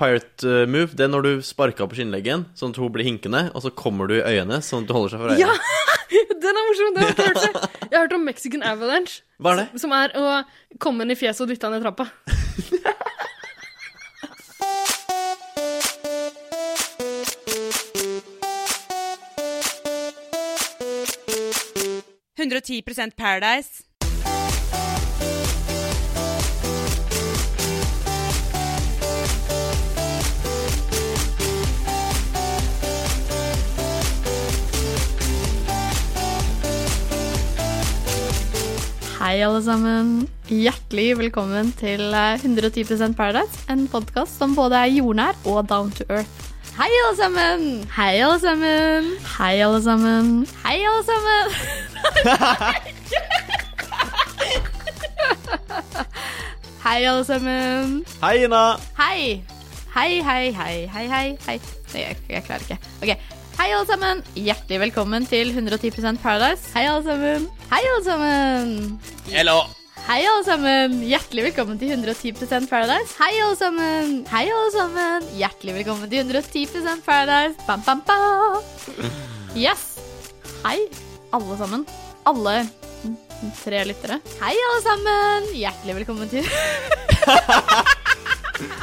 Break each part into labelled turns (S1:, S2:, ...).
S1: pirate eh, move det er når du sparker på skinnleggen, sånn at hun blir hinkende, og så kommer du i øynene, sånn at du holder seg for øynene.
S2: Ja! Den er morsom! Den har jeg ikke hørt før. Jeg har hørt om Mexican Avalanche,
S1: Hva er det?
S2: som er å komme henne i fjeset og dytte henne i trappa.
S3: Paradise.
S4: Hei, alle sammen. Hjertelig velkommen til eh, 110 Paradise, en podkast som både er jordnær og down to earth. Hei, alle sammen. Hei, alle sammen. Hei, alle sammen. Hei, alle sammen. Hei, alle sammen.
S1: Hei, Ina!
S4: Hei. Hei, hei, hei, hei, hei. hei. Nei, jeg, jeg klarer ikke. Ok. Hei, alle sammen. Hjertelig velkommen til 110 Paradise. Hei, alle sammen. Hei, alle sammen.
S1: Hello!
S4: Hei, alle sammen! Hjertelig velkommen til 110 Paradise. Hei, alle sammen! Hei, alle sammen! Hjertelig velkommen til 110 Paradise. Bam, bam, bam! Yes! Hei, alle sammen. Alle tre lyttere. Hei, alle sammen! Hjertelig velkommen til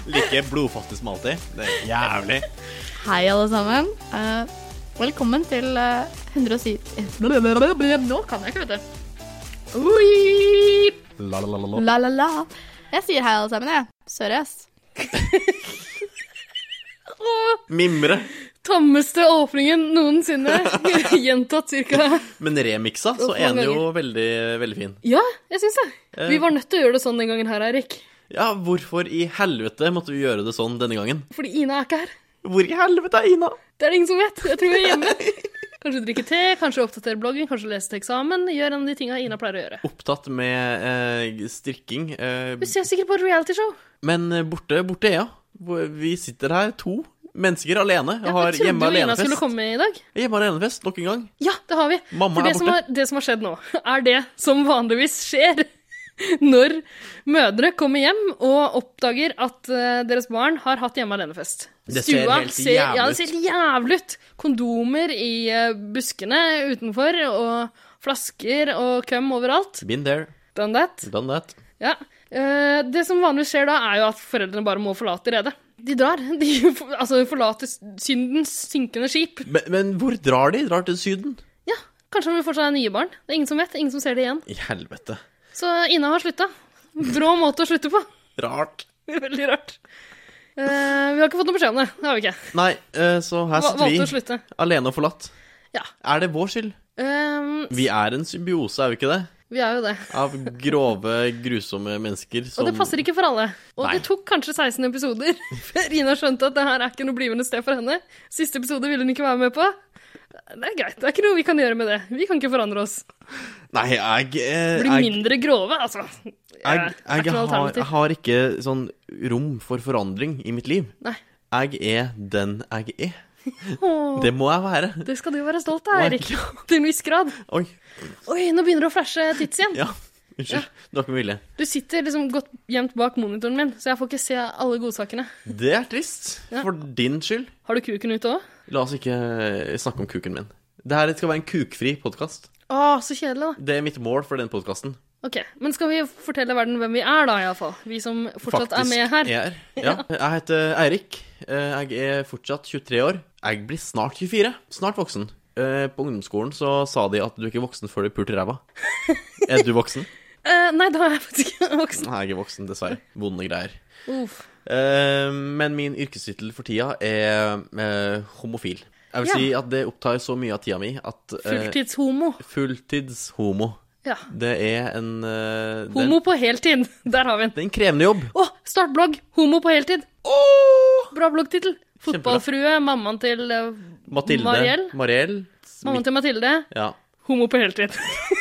S1: Like blodfattig som alltid. Det er jævlig.
S4: Hei, alle sammen. Eh, velkommen til eh, 110 Nå kan jeg ikke, vet du. Oi!
S1: La, la, la, la, la.
S4: La, la, la. Jeg sier hei, alle sammen, jeg. Seriøst.
S1: Mimre,
S2: Tammeste åpningen noensinne. Gjentatt cirka
S1: men remiksa, så er
S2: Hvorfor
S1: den jo
S2: ganger?
S1: veldig, veldig fin.
S2: Ja, jeg syns det.
S1: Eh.
S2: Vi var nødt til å gjøre det sånn den gangen her, Eirik.
S1: Ja, hvorfor i helvete måtte vi gjøre det sånn denne gangen?
S2: Fordi Ina er ikke her.
S1: Hvor i helvete er Ina?
S2: Det er det ingen som vet. Jeg tror vi er hjemme. Kanskje drikke te, kanskje oppdatere bloggen, kanskje lese til eksamen. Gjør en av de tinga Ina pleier å gjøre.
S1: Opptatt med eh, strikking. Eh,
S2: Du ser sikkert på et realityshow.
S1: men borte, borte er jeg. Vi sitter her, to mennesker alene, og har
S2: Jeg
S1: hjemme
S2: trodde jo Ina skulle
S1: alene-fest.
S2: komme i dag.
S1: Hjemme alene-fest, nok en gang.
S2: Ja, det har vi.
S1: Mamma
S2: For
S1: er
S2: det som,
S1: borte.
S2: har, det som har skjedd nå, er det som vanligvis skjer når mødre kommer hjem og oppdager at eh, deres barn har hatt hjemme alene-fest.
S1: Det ser helt jævlig
S2: Ja,
S1: ut.
S2: det ser helt jævlig ut. Kondomer i eh, buskene utenfor, og flasker og køm overalt.
S1: Been there,
S2: Done that.
S1: done that.
S2: Ja. Eh, det som vanligvis skjer da, er jo at foreldrene bare må forlate redet. De drar. De for- altså, forlater syndens synkende skip.
S1: Men, men hvor drar de? Drar til Syden?
S2: Ja, kanskje de får seg nye barn. Det er ingen som vet. Ingen som ser det igjen.
S1: I helvete.
S2: Så Ina har slutta. Brå måte å slutte på.
S1: Rart.
S2: Veldig rart. Eh, vi har ikke fått noe beskjed om det. Det har vi ikke.
S1: Nei, eh, så her
S2: Va-
S1: sitter
S2: Valgte å
S1: vi
S2: slutte.
S1: alene og forlatt.
S2: Ja.
S1: Er det vår skyld?
S2: Eh,
S1: Vi er en symbiose, er vi ikke det?
S2: vi er jo det.
S1: Av grove, grusomme mennesker som
S2: Og det passer ikke for alle. Og
S1: Nei.
S2: det tok kanskje 16 episoder før Ina skjønte at det her er ikke noe blivende sted for henne. Siste episode ville hun ikke være med på. Det er greit. Det er ikke noe vi kan gjøre med det. Vi kan ikke forandre oss.
S1: Nei, jeg, eh,
S2: Bli
S1: jeg,
S2: mindre grove, altså.
S1: jeg,
S2: er
S1: jeg,
S2: ikke
S1: har,
S2: noe alternativ.
S1: jeg har ikke sånn rom for forandring i mitt liv.
S2: Nei.
S1: Jeg er den jeg er.
S2: Åh,
S1: Det må jeg være.
S2: det skal du være stolt av,
S1: Nei.
S2: Erik. Til en viss grad.
S1: Oi.
S2: Oi, nå begynner det å flashe tits igjen.
S1: Ja. Unnskyld. Det var ikke med vilje.
S2: Du sitter liksom godt gjemt bak monitoren min, så jeg får ikke se alle godsakene.
S1: Det er trist.
S2: Ja.
S1: For din skyld.
S2: Har du kuken ute òg?
S1: La oss ikke eh, snakke om kuken min. Det her skal være en kukfri podkast.
S2: Å, så kjedelig, da.
S1: Det er mitt mål for den podkasten.
S2: Ok, Men skal vi fortelle verden hvem vi er, da, iallfall? Vi som fortsatt er med her.
S1: Ja. Jeg heter Eirik. Eh, Jeg er fortsatt 23 år. Jeg blir snart 24. Snart voksen. Eh, På ungdomsskolen så sa de at du er ikke voksen før du er pult i ræva. Er du voksen?
S2: Eh, nei, da er jeg faktisk ikke voksen.
S1: Nei, jeg er ikke voksen, dessverre. Vonde greier.
S2: Uff.
S1: Eh, Men min yrkestittel for tida er eh, homofil. Jeg vil
S2: Ja.
S1: si at det opptar så mye av tida mi at eh,
S2: Fulltidshomo.
S1: Fulltidshomo.
S2: Ja.
S1: Det er en eh, det er en-
S2: Homo på heltid. Der har vi den.
S1: Det er en krevende jobb.
S2: Å, start blogg! Homo på heltid. Bra bloggtittel.
S1: Kjempebra.
S2: Fotballfrue, mammaen til eh,
S1: Mathilde.
S2: Mariell?
S1: Mariell.
S2: Mammaen til Mathilde.
S1: Ja.
S2: Homo på heltid.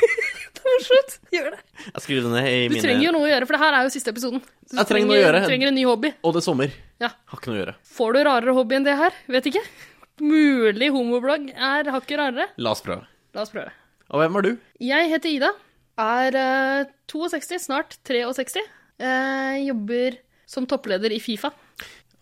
S2: det er morsomt. Gjør det.
S1: Jeg skriver det ned i
S2: Du
S1: mine
S2: trenger jo noe å gjøre, for det her er jo siste episoden. Så du
S1: Jeg trenger noe å gjøre.
S2: du trenger en ny hobby.
S1: Og det er sommer.
S2: Ja.
S1: Har ikke noe å gjøre.
S2: Får du rarere hobby enn det her? Vet ikke. Mulig homoblogg er hakket rarere.
S1: La oss prøve.
S2: La oss prøve.
S1: Og hvem er du?
S2: Jeg heter Ida, er eh, 62, snart 63. Eh, jobber som toppleder i Fifa.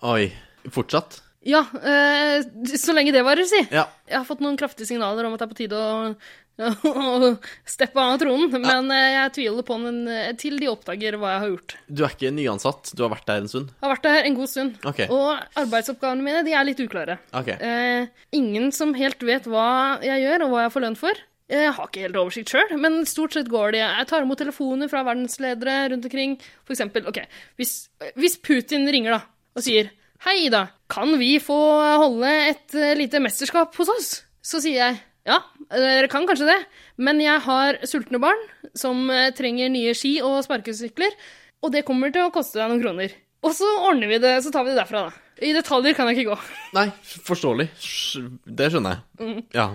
S1: Oi. Fortsatt?
S2: Ja, eh, så lenge det varer, si.
S1: Ja.
S2: Jeg har fått noen kraftige signaler om at det er på tide å, å steppe av tronen, men eh, jeg tviler på den eh, til de oppdager hva jeg har gjort.
S1: Du er ikke nyansatt, du har vært der en stund?
S2: Jeg har vært der en god stund,
S1: Ok.
S2: og arbeidsoppgavene mine de er litt uklare.
S1: Ok.
S2: Eh, ingen som helt vet hva jeg gjør, og hva jeg får lønn for. Jeg har ikke helt oversikt sjøl, men stort sett går det. Jeg tar imot telefoner fra verdensledere rundt omkring. For eksempel, ok, hvis, hvis Putin ringer da, og sier Hei, Ida, kan vi få holde et eh, lite mesterskap hos oss? Så sier jeg ja, dere kan kanskje det, men jeg har sultne barn som eh, trenger nye ski og sparkesykler, og det kommer til å koste deg noen kroner. Og så ordner vi det, så tar vi det derfra, da. I detaljer kan jeg ikke gå.
S1: Nei, forståelig. Sj- Det skjønner jeg. Ja.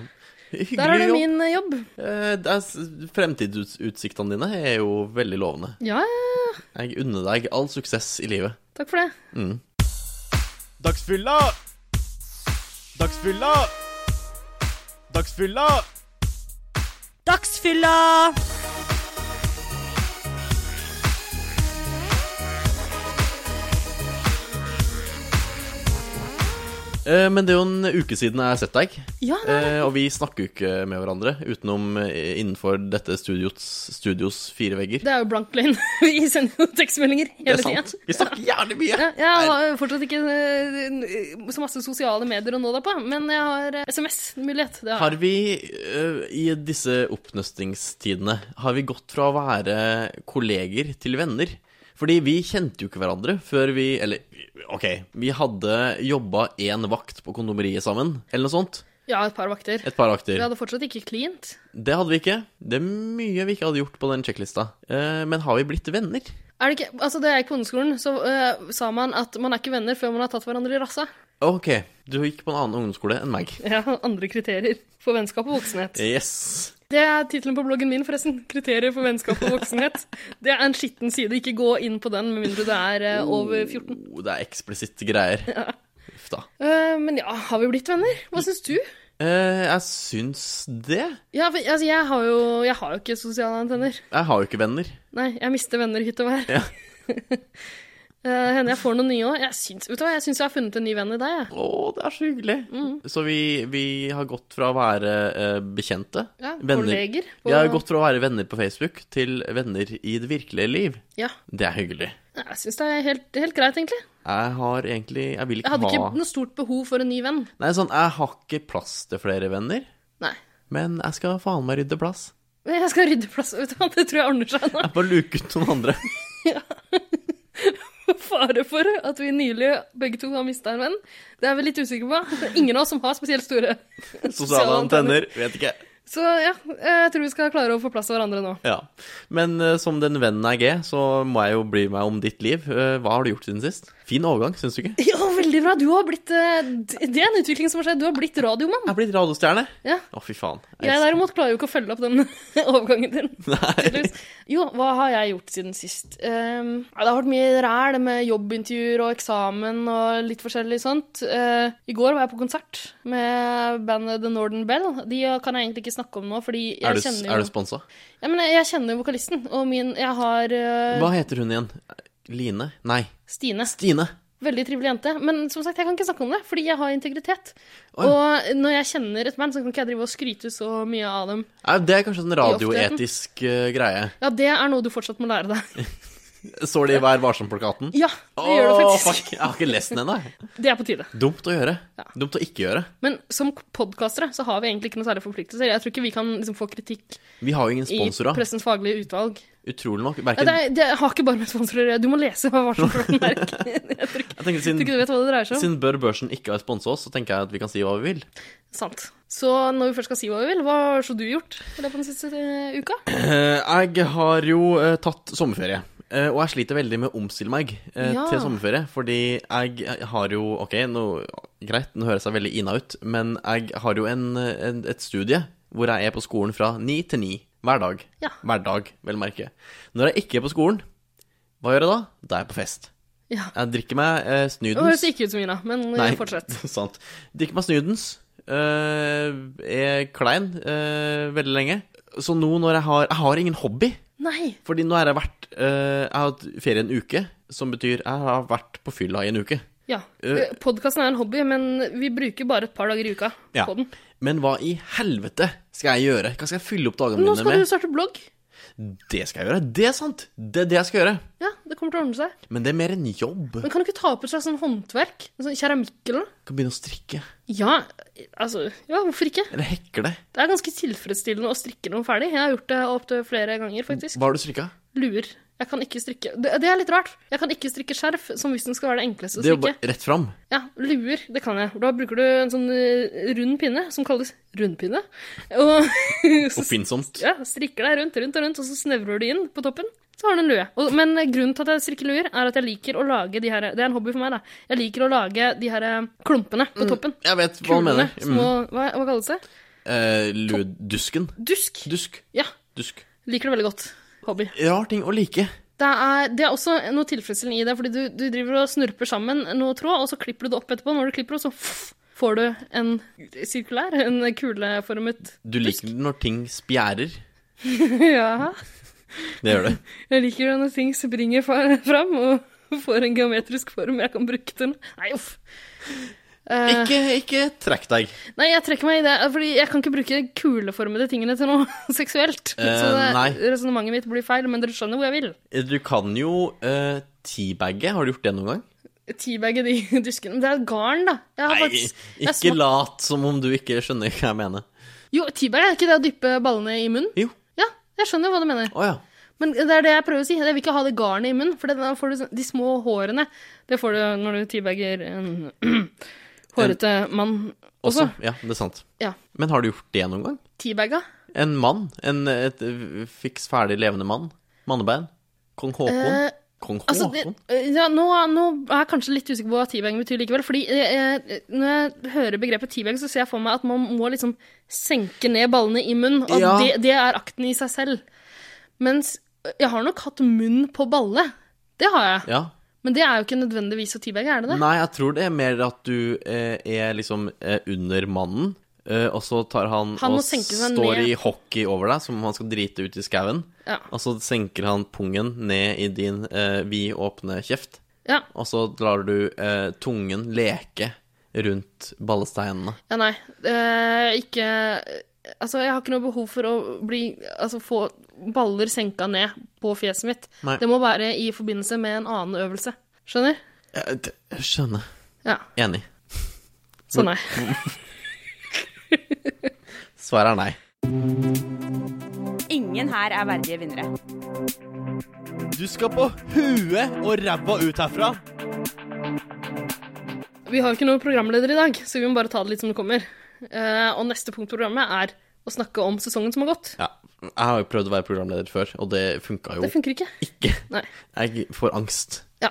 S1: Hyggelig
S2: Mm. Der har du
S1: jobb.
S2: min eh, jobb.
S1: Eh, det er s- Fremtidsutsiktene dine er jo veldig lovende.
S2: Ja, ja, ja.
S1: Jeg unner deg all suksess i livet.
S2: takk for det.
S1: Mm.
S5: Dagsfylla! Dagsfylla! Dagsfylla!
S3: Dagsfylla!
S1: Eh, Men det er jo en uke siden jeg har sett deg,
S2: Ja,
S1: eh, og vi snakker jo ikke med hverandre utenom eh, innenfor dette studios, studios fire vegger.
S2: det er jo blank løgn. Vi sender jo tekstmeldinger
S1: Det
S2: hele
S1: er
S2: tida.
S1: sant. Vi snakker jævlig
S2: Ja,
S1: mye.
S2: jeg har jo fortsatt ikke eh, så masse sosiale medier å nå deg på, men jeg har eh, SMS-mulighet. Det har jeg.
S1: Har vi eh, i disse oppnøstingstidene Har vi gått fra å være kolleger til venner? Fordi vi kjente jo ikke hverandre før vi Eller OK, vi hadde jobba én vakt på kondomeriet sammen, eller noe sånt.
S2: Ja, et par vakter.
S1: Et par vakter.
S2: Vi hadde fortsatt ikke klint.
S1: Det hadde vi ikke. Det er mye vi ikke hadde gjort på den sjekklista. Eh, men har vi blitt venner?
S2: Er det ikke, altså Da jeg gikk på ungdomsskolen, så eh, sa man at man er ikke venner før man har tatt hverandre i rassa.
S1: OK, du gikk på en annen ungdomsskole enn meg.
S2: Ja, Andre kriterier for vennskap og voksenhet.
S1: Yes.
S2: Det er tittelen på bloggen min, forresten. 'Kriterier for vennskap og voksenhet'. Det er en skitten side. Ikke gå inn på den med mindre du er eh, over 14.
S1: Oh, det er eksplisitte greier. Uff da.
S2: Eh, men ja, har vi blitt venner? Hva syns du?
S1: Eh, jeg syns det.
S2: Ja, for, altså, jeg, har jo, jeg har jo ikke sosiale antenner.
S1: Jeg har jo ikke venner.
S2: Nei, jeg mister venner hytt og vær.
S1: Ja.
S2: Eh, hender jeg får noen nye òg. Jeg syns vet du hva, jeg syns jeg har funnet en ny venn i deg. Jeg.
S1: Å, det er så hyggelig.
S2: Mm.
S1: Så vi, vi har gått fra å være eh, bekjente
S2: Ja,
S1: venner.
S2: kolleger på-
S1: Vi har gått fra å være venner på Facebook til venner i det virkelige liv.
S2: Ja,
S1: Det er hyggelig.
S2: jeg syns det er helt, helt greit, egentlig.
S1: Jeg har egentlig Jeg vil
S2: Jeg
S1: ikke
S2: hadde
S1: ha
S2: ikke noe stort behov for en ny venn.
S1: Nei, sånn, jeg har ikke plass til flere venner,
S2: Nei.
S1: men jeg skal faen meg rydde plass.
S2: Men jeg skal rydde plass, vet du hva. Det tror jeg ordner seg nå.
S1: Jeg får luke ut noen andre.
S2: Fare for at vi nylig begge to har mista en venn. Det er vi litt usikre på. Det er ingen av oss som har spesielt store.
S1: Sosiale antenner. Vet ikke.
S2: Så ja, jeg tror vi skal klare å få plass til hverandre nå.
S1: Ja. Men eh, som den vennen jeg er, så må jeg jo bry meg om ditt liv. Eh, hva har du gjort siden sist? Fin overgang, syns du ikke?
S2: Ja, veldig bra. Du har blitt eh, d- Det er en utvikling som har skjedd. Du har blitt radiomann.
S1: Jeg er blitt radiostjerne.
S2: Ja.
S1: Å, fy faen.
S2: Jeg derimot klarer jo ikke å følge opp den overgangen din.
S1: Nei.
S2: tydeligvis. Jo, hva har jeg gjort siden sist? Ehm, ja, det har vært mye ræl med jobbintervjuer og eksamen og litt forskjellig sånt. Eh, I går var jeg på konsert med bandet The Northern Bell. De kan jeg egentlig ikke snakke om nå, fordi jeg
S1: Er du,
S2: kjenner jo
S1: er du sponsa?
S2: Ja, men jeg, jeg kjenner jo vokalisten, og min Jeg har eh,
S1: Hva heter hun igjen? Line? Nei,
S2: Stine.
S1: Stine.
S2: Veldig trivelig jente. Men som sagt, jeg kan ikke snakke om det, fordi jeg har integritet.
S1: Oi.
S2: Og når jeg kjenner et band, så kan ikke jeg drive og skryte så mye av dem.
S1: Nei, Det er kanskje en radioetisk eh, greie.
S2: Ja, det er noe du fortsatt må lære deg.
S1: Står det i Vær varsom-plakaten?
S2: Ja, det gjør det
S1: Å,
S2: faktisk.
S1: fuck, Jeg har ikke lest den ennå. jeg.
S2: Det er på tide.
S1: Dumt å gjøre.
S2: Ja.
S1: Dumt å ikke gjøre.
S2: Men som podkastere så har vi egentlig ikke noe særlig forpliktelser. Jeg tror ikke vi kan liksom, få kritikk
S1: Vi har jo ingen
S2: i
S1: sponsorer.
S2: pressens faglige utvalg.
S1: Utrolig nok.
S2: Ja,
S1: Verken
S2: det, er, det har ikke bare med sponsorer å gjøre. Du må lese hva varselplaten er. Jeg tror ikke,
S1: Jeg tenker
S2: tror ikke
S1: siden,
S2: du vet hva det dreier seg om.
S1: siden Bør Børsen ikke har sponsa oss, så tenker jeg at vi kan si hva vi vil.
S2: Sant. Så når vi først skal si hva vi vil, hva har så du gjort i løpet av den siste eh, uka?
S1: Eh, Jeg har jo eh, tatt sommerferie. eh, Og jeg sliter veldig med å omstille meg eh,
S2: Ja.
S1: til sommerferie. Fordi jeg har jo Ok, nå, greit, nå høres jeg veldig Ina ut, men jeg har jo en, en, et studie hvor jeg er på skolen fra ni til ni hver dag.
S2: Ja.
S1: Hver dag, vel merke. Når jeg ikke er på skolen, hva gjør jeg da? Da er jeg på fest.
S2: Ja.
S1: Jeg drikker meg eh,
S2: Det
S1: snydens.
S2: høres ikke ut som Ina, men eh, fortsett.
S1: sant. Drikker meg snudens. eh, er klein eh, veldig lenge. Så nå når jeg har Jeg har ingen hobby.
S2: Nei.
S1: Fordi nå har jeg vært eh, Jeg har hatt ferie en uke, som betyr jeg har vært på fylla i en uke.
S2: Ja.
S1: Eh,
S2: Podkasten er en hobby, men vi bruker bare et par dager i uka
S1: Ja.
S2: på den.
S1: Men hva i helvete skal jeg gjøre? Hva skal jeg fylle opp dagene
S2: Nå
S1: mine
S2: skal du
S1: med?
S2: starte blogg.
S1: Det skal jeg gjøre. Det er sant. Det er det jeg skal gjøre.
S2: Ja, det kommer til å ordne seg.
S1: Men det er mer en jobb.
S2: Men kan du ikke ta opp et slags sånn håndverk? En Sånn keramikk eller noe?
S1: Jeg kan begynne å strikke.
S2: Ja, altså Ja, hvorfor ikke?
S1: Eller hekle.
S2: Det er ganske tilfredsstillende å strikke noe ferdig. Jeg har gjort det opptil flere ganger, faktisk.
S1: Hva har du strikka?
S2: Luer. Jeg kan ikke strikke det, det er litt rart. Jeg kan ikke strikke skjerf, som hvis den skal være det enkleste å
S1: Det er jo
S2: strikke.
S1: bare rett fram.
S2: Ja, luer, det kan jeg. Da bruker du en sånn eh, rund pinne, som kalles rundpinne. Og så
S1: Oppfinnsomt.
S2: ja, strikker deg rundt, rundt og rundt, og så snevrer du inn på toppen. Så har du en lue. Og, men grunnen til at jeg strikker luer, er at jeg liker å lage de her Det er en hobby for meg, da. Jeg liker å lage de her eh, klumpene på toppen.
S1: Jeg vet Mm. hva du mener.
S2: Små,
S1: Mm.
S2: hva, hva kalles det?
S1: Eh, Ludusken.
S2: Dusk.
S1: Dusk.
S2: Ja.
S1: Dusk.
S2: Liker det veldig godt. Hobby.
S1: Rar ting å like.
S2: Det er, det er også noe tilfredsstillende i det, fordi du, du driver og snurper sammen noe tråd, og så klipper du det opp etterpå. Når du klipper det, så f- får du en sirkulær, en kuleformet
S1: Du liker det når ting spjærer.
S2: Ja.
S1: Det gjør det.
S2: Jeg liker det når ting springer fa- fram og får en geometrisk form jeg kan bruke til noe. Nei, uff. Eh,
S1: Ikke, ikke trekk deg.
S2: nei, jeg trekker meg i det, fordi jeg kan ikke bruke kuleformede tingene til noe seksuelt. så
S1: Eh, nei.
S2: resonnementet mitt blir feil, men dere skjønner hvor jeg vil.
S1: Du kan jo eh, teabagge. Har du gjort det noen gang?
S2: Teabagge de duskene. Men Det er garn, da. Jeg har
S1: Nei,
S2: faktisk- jeg
S1: ikke
S2: smak-
S1: lat som om du ikke skjønner hva jeg mener.
S2: Jo, teabag er ikke det å dyppe ballene i munnen?
S1: Jo.
S2: Ja, jeg skjønner hva du mener.
S1: Å ja.
S2: Men det er det jeg prøver å si. Jeg vil ikke ha det garnet i munnen, for det- da får du sånn- de små hårene. Det får du når du teabager en hårete mann
S1: Også.
S2: også.
S1: Ja, det er sant.
S2: Ja.
S1: Men har du gjort det noen gang?
S2: Teabaga?
S1: En mann? En et, eh, fiks ferdig levende mann? Mannebein? Kong Håkon?
S2: Eh,
S1: Kong Håkon?
S2: Altså, det, ja, nå, nå er jeg kanskje litt usikker på hva teabag betyr likevel. Fordi eh, eh, når jeg hører begrepet teabag, så ser jeg for meg at man må liksom senke ned ballene i munnen. Og at
S1: Ja.
S2: det, det er akten i seg selv. Mens eh, jeg har nok hatt munn på balle. Det har jeg.
S1: ja.
S2: Men det er jo ikke nødvendigvis å teabage, er det det?
S1: Nei, jeg tror det er mer at du eh, er liksom eh, under mannen, eh, og så tar han,
S2: Han må
S1: og
S2: senke seg
S1: står
S2: ned.
S1: i hockey over deg, som om han skal drite ut i skauen.
S2: Ja.
S1: Og så senker han pungen ned i din eh, vidåpne kjeft,
S2: Ja.
S1: og så lar du eh, tungen leke rundt ballesteinene.
S2: Ja, nei. Eh, ikke Altså, jeg har ikke noe behov for å bli Altså, få baller senka ned på fjeset mitt.
S1: Nei.
S2: Det må være i forbindelse med en annen øvelse. Skjønner?
S1: Eh, det- Jeg skjønner.
S2: Ja. sånn
S1: Enig.
S2: Så nei.
S1: Svaret er nei.
S3: Ingen her er verdige vinnere.
S5: Du skal på huet og ræva ut herfra.
S2: Vi har jo ikke noen programleder i dag, så vi må bare ta det litt som det kommer. Eh, og neste punkt på programmet er å snakke om sesongen som har gått.
S1: Ja, jeg har jo prøvd å være programleder før, og det funka jo Eh,
S2: Det funker ikke.
S1: ikke.
S2: Nei.
S1: Jeg får angst
S2: Ja.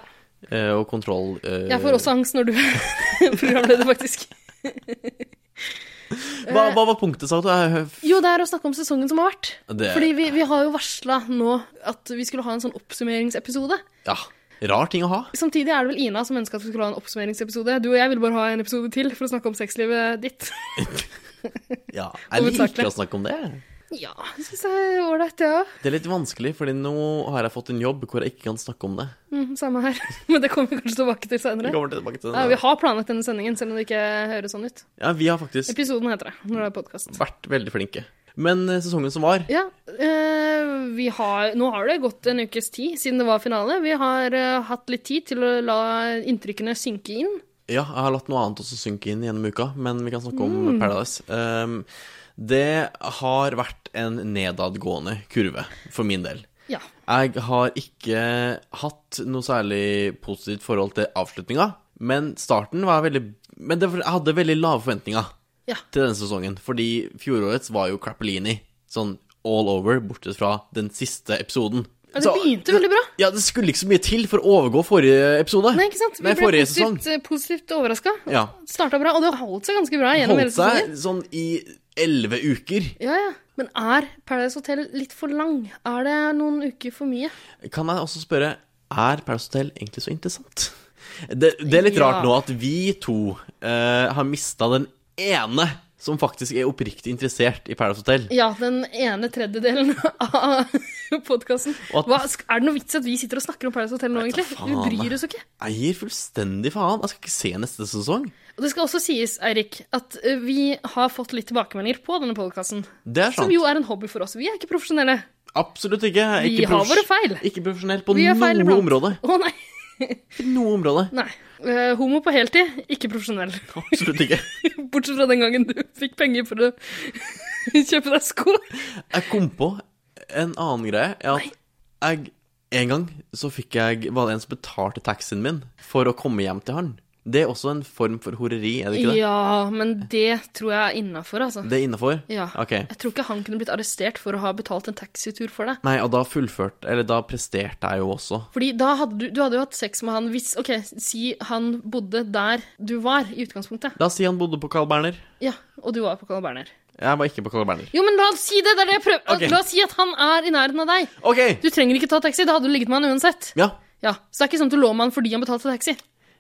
S1: eh, og kontroll. eh,
S2: Jeg får også angst når du er programleder, faktisk. eh,
S1: hva, hva var punktet, sa du? Jeg-
S2: Jo, det er å snakke om sesongen som har vært.
S1: Det-
S2: Fordi vi, vi har jo varsla nå at vi skulle ha en sånn oppsummeringsepisode.
S1: Ja. Rar ting å ha.
S2: Samtidig er det vel Ina som ønska at vi skulle ha en oppsummeringsepisode. Du og jeg ville bare ha en episode til for å snakke om sexlivet ditt.
S1: Ja, jeg
S2: Hovedsakelig.
S1: liker å snakke om det.
S2: Ja, det syns jeg er ålreit, jeg ja. òg.
S1: Det er litt vanskelig, fordi nå har jeg fått en jobb hvor jeg ikke kan snakke om det.
S2: Mm, samme her. Men det kommer vi kanskje tilbake
S1: Vi
S2: til seinere.
S1: kommer tilbake til
S2: Ja, vi
S1: det.
S2: har planlagt denne sendingen, selv om det ikke høres sånn ut.
S1: Ja, vi har faktisk
S2: Episoden heter det, når det er podkast.
S1: vært veldig flinke. Men eh, sesongen som var
S2: Ja, eh, vi har, nå har det gått en ukes tid siden det var finale. Vi har eh, hatt litt tid til å la inntrykkene synke inn.
S1: Ja, jeg har latt noe annet også synke inn gjennom uka, men vi kan snakke om
S2: Mm.
S1: Paradise. Um, det har vært en nedadgående kurve, for min del.
S2: Ja.
S1: Jeg har ikke hatt noe særlig positivt forhold til avslutninga, men starten var veldig Men det, var- jeg hadde veldig lave forventninger
S2: Ja.
S1: til denne sesongen, fordi fjorårets var jo Crappellini. Sånn all over, bortsett fra den siste episoden.
S2: Ja, det begynte veldig bra.
S1: Ja, det skulle ikke så mye til for å overgå forrige episode.
S2: Nei, ikke sant? Vi
S1: Nei,
S2: ble
S1: forrige
S2: positivt,
S1: sesong.
S2: eh, positivt overraska.
S1: Ja.
S2: Starta bra, og det holdt seg ganske bra gjennom hele
S1: Holdt
S2: sesongen.
S1: seg sånn i elleve uker.
S2: Ja, ja. Men er Paradise Hotel litt for lang? Er det noen uker for mye?
S1: Kan jeg også spørre, er Paradise Hotel egentlig så interessant? Det, det er litt
S2: Ja.
S1: rart nå at vi to eh, har mista den ene som faktisk er oppriktig interessert i Paradise Hotel.
S2: Ja, den ene tredjedelen av podkasten.
S1: Og at-
S2: Er det noe vits at vi sitter og snakker om Paradise Hotel nå,
S1: Nei, ta
S2: egentlig? Vi
S1: faen,
S2: bryr
S1: nei.
S2: oss jo ikke.
S1: Eier fullstendig faen. Jeg skal ikke se neste sesong.
S2: Og det skal også sies, Eirik, at eh, vi har fått litt tilbakemeldinger på denne podkasten.
S1: Det er
S2: Som
S1: sant.
S2: jo er en hobby for oss. Vi er ikke profesjonelle.
S1: Absolutt ikke.
S2: Vi
S1: ikke
S2: har
S1: profes-
S2: våre feil.
S1: Ikke profesjonell på
S2: Vi
S1: noe
S2: gjør feil iblant.
S1: område.
S2: Å nei.
S1: Ikke noe område.
S2: nei. Eh, homo på heltid, ikke profesjonell.
S1: Absolutt ikke.
S2: Bortsett fra den gangen du fikk penger for å kjøpe deg sko.
S1: Jeg kom på en annen greie. er At jeg, en gang så fikk jeg Var det en som betalte taxien min for å komme hjem til han? Det er også en form for horeri, er det ikke det?
S2: Ja, men det tror jeg er innafor, altså.
S1: Det er innafor?
S2: Ja.
S1: Ok.
S2: Jeg tror ikke han kunne blitt arrestert for å ha betalt en taxitur for deg.
S1: Nei, og da fullførte Eller da presterte jeg jo også.
S2: Fordi da hadde du, du hadde jo hatt sex med han hvis Ok, si han bodde der du var i utgangspunktet.
S1: La oss si han bodde på Carl Berner.
S2: Ja, og du var på Carl Berner.
S1: Jeg var ikke på Carl Berner.
S2: Jo, men la oss si det! det er det jeg prøver.
S1: Ok.
S2: La oss si at han er i nærheten av deg.
S1: OK!
S2: Du trenger ikke ta taxi, da hadde du ligget med han uansett.
S1: Ja.
S2: Ja, Så det er ikke sånn at du lå med han fordi han betalte taxi.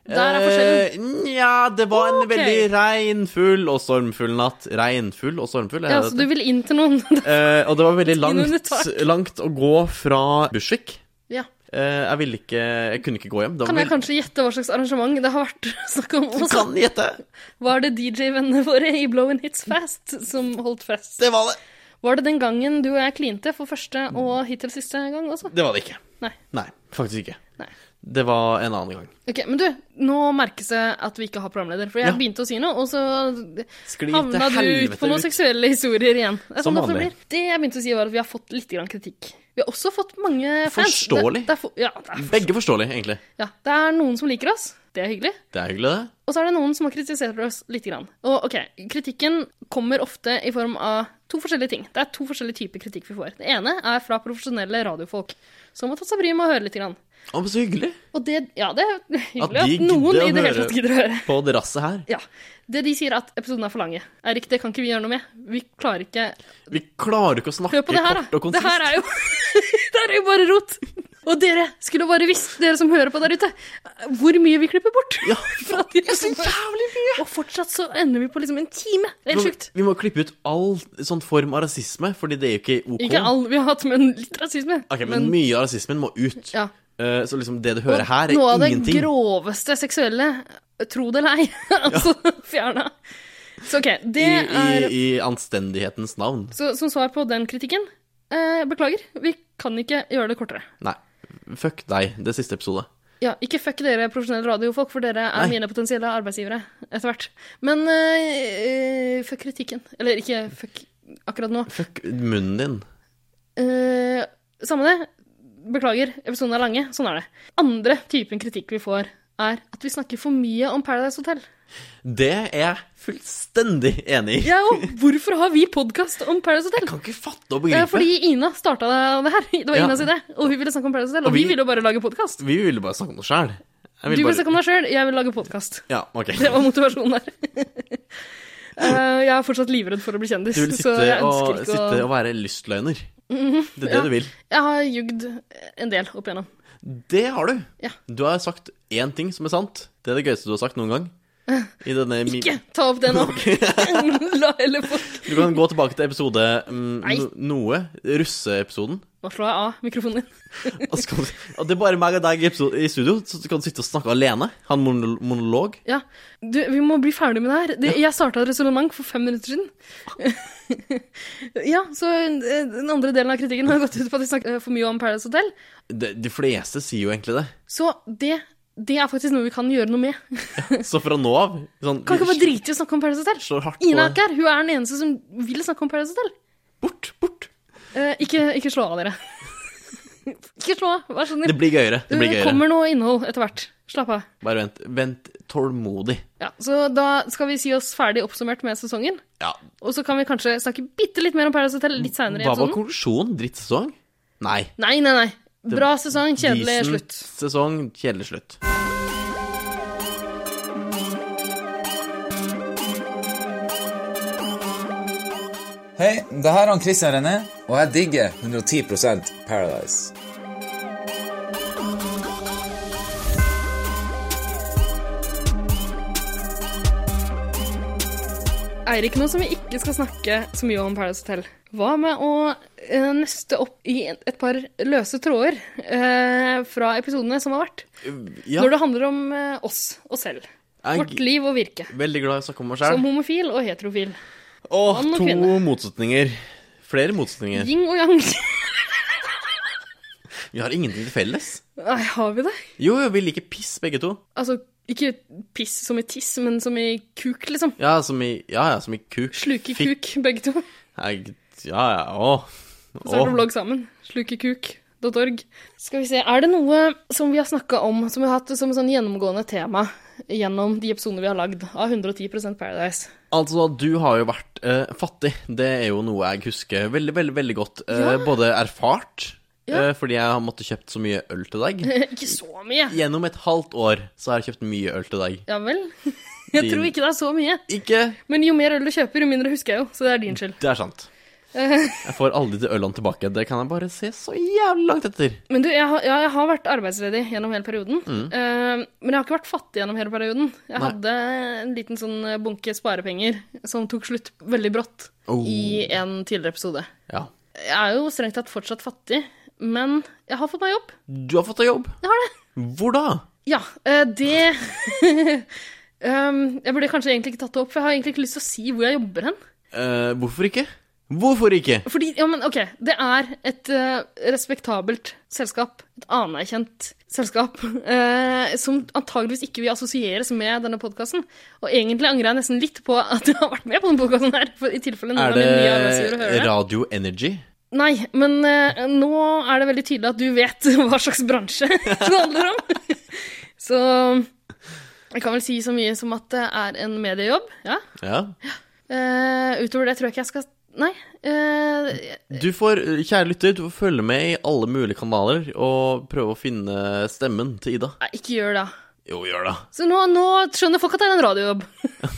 S2: Der er forskjellen.
S1: Eh, Nja, det var en
S2: Ok.
S1: veldig regnfull og stormfull natt. Regnfull og stormfull? er
S2: Ja,
S1: det
S2: Så
S1: det?
S2: du vil inn til noen?
S1: Eh, og det var veldig
S2: Inn under
S1: langt,
S2: tak.
S1: langt å gå fra Bushwick.
S2: ja.
S1: Eh, jeg ville ikke Jeg kunne ikke gå hjem. Det var
S2: Kan jeg
S1: veldig-
S2: kanskje gjette hva slags arrangement det har vært snakk om?
S1: Du
S2: Også?
S1: kan gjette!
S2: Var det DJ-vennene våre i Blowin' Hits Fast som holdt fest?
S1: Det var det.
S2: Var det den gangen du og jeg klinte for første og hittil siste gang også?
S1: Det var det ikke.
S2: Nei.
S1: faktisk ikke.
S2: Nei.
S1: Det var en annen gang.
S2: Ok, Men du, nå merkes det at vi ikke har programleder. For jeg
S1: Ja.
S2: begynte å si noe, og så
S1: Skli
S2: havna du ut på noen seksuelle historier igjen. Det, er
S1: Som
S2: sånn det,
S1: vanlig.
S2: blir. det jeg begynte å si, var at vi har fått litt grann kritikk. Vi har også fått mange fans.
S1: Forståelig.
S2: Det, det er for, ja, det er,
S1: Begge forståelig, egentlig.
S2: ja, det er noen som liker oss. Det er hyggelig.
S1: Det er hyggelig, det.
S2: Og så er det noen som har kritisert oss litt. Grann. Og ok, kritikken kommer ofte i form av to forskjellige ting. Det er to forskjellige typer kritikk vi får. Det ene er fra profesjonelle radiofolk som har tatt seg bryet med å høre litt. Grann.
S1: Å, men så hyggelig.
S2: Og det, ja, det er hyggelig
S1: At de
S2: at, noen
S1: gidder å
S2: i det hele
S1: høre.
S2: tatt gidder å høre.
S1: På det rasset her.
S2: Ja, Det de sier, er at episoden er for lange. Eirik, det kan ikke vi gjøre noe med. Vi klarer ikke
S1: Vi klarer ikke å snakke
S2: Hør på det her,
S1: kort
S2: da.
S1: og
S2: Det her
S1: konsist.
S2: er jo Det her er jo bare rot. Og dere skulle bare visst, dere som hører på der ute, hvor mye vi klipper bort.
S1: Ja,
S2: Fra de som hører. Og fortsatt så ender vi på liksom en time. Det er helt sjukt.
S1: Vi må klippe ut all sånn form av rasisme, fordi det er jo ikke OK.
S2: Ikke all vi har hatt, men litt rasisme.
S1: Ok, men, mye av rasismen må ut.
S2: ja.
S1: Eh, så liksom det du hører her, er
S2: Noe av det
S1: ingenting.
S2: groveste seksuelle, tro det eller ei, altså fjerna. Så OK, det
S1: I,
S2: er
S1: i, I anstendighetens navn.
S2: Så som svar på den kritikken, eh, beklager, vi kan ikke gjøre det kortere.
S1: Nei. Fuck deg. Det er siste episode.
S2: Ja, ikke fuck dere profesjonelle radiofolk, for dere er
S1: Nei.
S2: mine potensielle arbeidsgivere etter hvert. Men eh, eh, fuck kritikken. Eller ikke fuck akkurat nå.
S1: Fuck munnen din.
S2: Eh, samme det. Beklager, episoden er lange. Sånn er det. Andre typen kritikk vi får, er at vi snakker for mye om Paradise Hotel.
S1: Det er jeg fullstendig enig i.
S2: Ja, og hvorfor har vi podkast om Paradise
S1: Jeg
S2: Hotel?
S1: kan ikke fatte og
S2: Eh,
S1: begripe.
S2: Fordi Ina starta det her. Det var
S1: Ja.
S2: Inas idé. Og hun ville snakke om Paradise Hotel. Og,
S1: Og
S2: vi,
S1: vi-
S2: ville jo bare lage podkast.
S1: Vi ville bare snakke om oss sjæl.
S2: Du ville snakke om deg sjøl, jeg vil lage podkast.
S1: Ja, ok.
S2: Det var motivasjonen der. Eh, jeg er fortsatt livredd for å bli kjendis.
S1: Du vil
S2: så jeg
S1: sitte og,
S2: ønsker ikke
S1: sitte
S2: å Mhm.
S1: og være lystløgner. Det er det
S2: ja.
S1: du vil.
S2: Jeg har jugd en del opp igjennom.
S1: Det har du.
S2: Ja.
S1: Du har sagt én ting som er sant. Det er det gøyeste du har sagt noen gang. I denne mi-
S2: Ikke ta opp det nå! La heller folk
S1: Du kan gå tilbake til episode mm,
S2: Nei.
S1: no- noe. Russeepisoden.
S2: Nå slår jeg av mikrofonen din.
S1: Og så kan du- og det er bare meg og deg i episo- i studio, så du kan sitte og snakke alene. Ha en monol- monolog.
S2: Ja. Du, vi må bli ferdig med det her. Det, jeg starta et resonnement for fem minutter siden. ja, så eh, den andre delen av kritikken har gått ut på at vi snakker eh, for mye om Paradise Hotel.
S1: De, de fleste sier jo egentlig det.
S2: Så det, det er faktisk noe vi kan gjøre noe med.
S1: Så fra nå av sånn,
S2: Kan ikke bare drite i å snakke om Paradise Hotel.
S1: Slår hardt
S2: Ina
S1: på
S2: er ikke her. Hun er den eneste som vil snakke om Paradise Hotel.
S1: Bort, bort.
S2: Eh, ikke, ikke slå av, dere. ikke slå av, vær så snill.
S1: Det blir gøyere. Det blir gøyere.
S2: Eh, kommer noe innhold etter hvert. Slapp av.
S1: Bare vent. Vent tålmodig.
S2: Ja, så da skal vi si oss ferdig oppsummert med sesongen.
S1: Ja.
S2: Og så kan vi kanskje snakke bitte litt mer om Paradise Hotel litt seinere i
S1: Hva var
S2: episoden.
S1: konklusjonen? Drittsesong? Nei.
S2: Nei, nei, nei. Bra sesong, kjedelig
S1: Decent
S2: slutt.
S1: Sesong, kjedelig slutt.
S6: Hei, det her er han Christian René, og jeg digger 110 Paradise.
S2: Eirik, nå som vi ikke skal snakke så mye om Paradise Hotel, hva med å eh, nøste opp i en- et par løse tråder eh, fra episodene som har vært?
S1: Ja,
S2: Når det handler om eh, oss og selv.
S1: Jeg-
S2: Vårt liv og virke.
S1: veldig glad i å snakke om meg
S2: Som
S1: sjæl.
S2: homofil og heterofil.
S1: Og
S2: mann og
S1: to
S2: kvinne.
S1: motsetninger. Flere motsetninger.
S2: Yin og yang.
S1: Vi har ingenting til felles.
S2: Nei, har vi det?
S1: Jo, jo, vi liker piss, begge to.
S2: Altså, ikke piss som i tiss, men som i kuk, liksom.
S1: Ja, som i, ja, ja, som i kuk.
S2: Sluke
S1: Fikk-
S2: kuk, begge to.
S1: Jeg, ja, ja, å.
S2: Så har
S1: Å.
S2: du blogg sammen. Slukekuk.org. Skal vi se, er det noe som vi har snakka om, som vi har hatt som sånn gjennomgående tema gjennom de episodene vi har lagd av 110 Paradise?
S1: Altså, du har jo vært eh, fattig. Det er jo noe jeg husker veldig, veldig veldig godt. Eh, Både erfart, eh, fordi jeg har måttet kjøpt så mye øl til deg.
S2: ikke så mye.
S1: Gjennom et halvt år så har jeg kjøpt mye øl til deg.
S2: Ja vel? Jeg
S1: Din-
S2: tror ikke det er så mye.
S1: Ikke
S2: Men jo mer øl du kjøper, jo mindre husker jeg jo. Så det er din skyld.
S1: Det er sant. Jeg får aldri de ølene tilbake. Det kan jeg bare se så jævlig langt etter.
S2: Men du, jeg har, ja, jeg har vært arbeidsledig gjennom hele perioden. Eh, men jeg har ikke vært fattig gjennom hele perioden. Jeg
S1: Mm. Nei.
S2: hadde en liten sånn bunke sparepenger som tok slutt veldig brått
S1: Oh.
S2: i en tidligere episode.
S1: Ja.
S2: Jeg er jo strengt tatt fortsatt fattig, men jeg har fått meg jobb.
S1: Du har fått deg jobb.
S2: Jeg har det.
S1: Hvor da?
S2: Ja, eh, det Ehm, Jeg burde kanskje egentlig ikke tatt det opp, for jeg har egentlig ikke lyst til å si hvor jeg jobber hen.
S1: Eh, hvorfor ikke? Hvorfor ikke?
S2: Fordi, ja, men ok, det er et eh, respektabelt selskap, et anerkjent selskap, eh, som antageligvis ikke vil assosieres med denne podkasten. Og egentlig angrer jeg nesten litt på at jeg har vært med på denne podkasten her, for i tilfelle noen
S1: Er
S2: av mine nye arbeidsgivere
S1: det
S2: hører det.
S1: Radio Energy?
S2: Nei, men eh, nå er det veldig tydelig at du vet hva slags bransje det handler om. Så jeg kan vel si så mye som at det er en mediejobb, ja.
S1: Ja.
S2: Eh, utover det tror jeg ikke jeg skal Nei. eh,
S1: Du får, kjære lytter, du får følge med i alle mulige kanaler og prøve å finne stemmen til Ida.
S2: nei, ikke gjør det.
S1: Jo, gjør det.
S2: Så nå, nå skjønner folk at det er en radiojobb.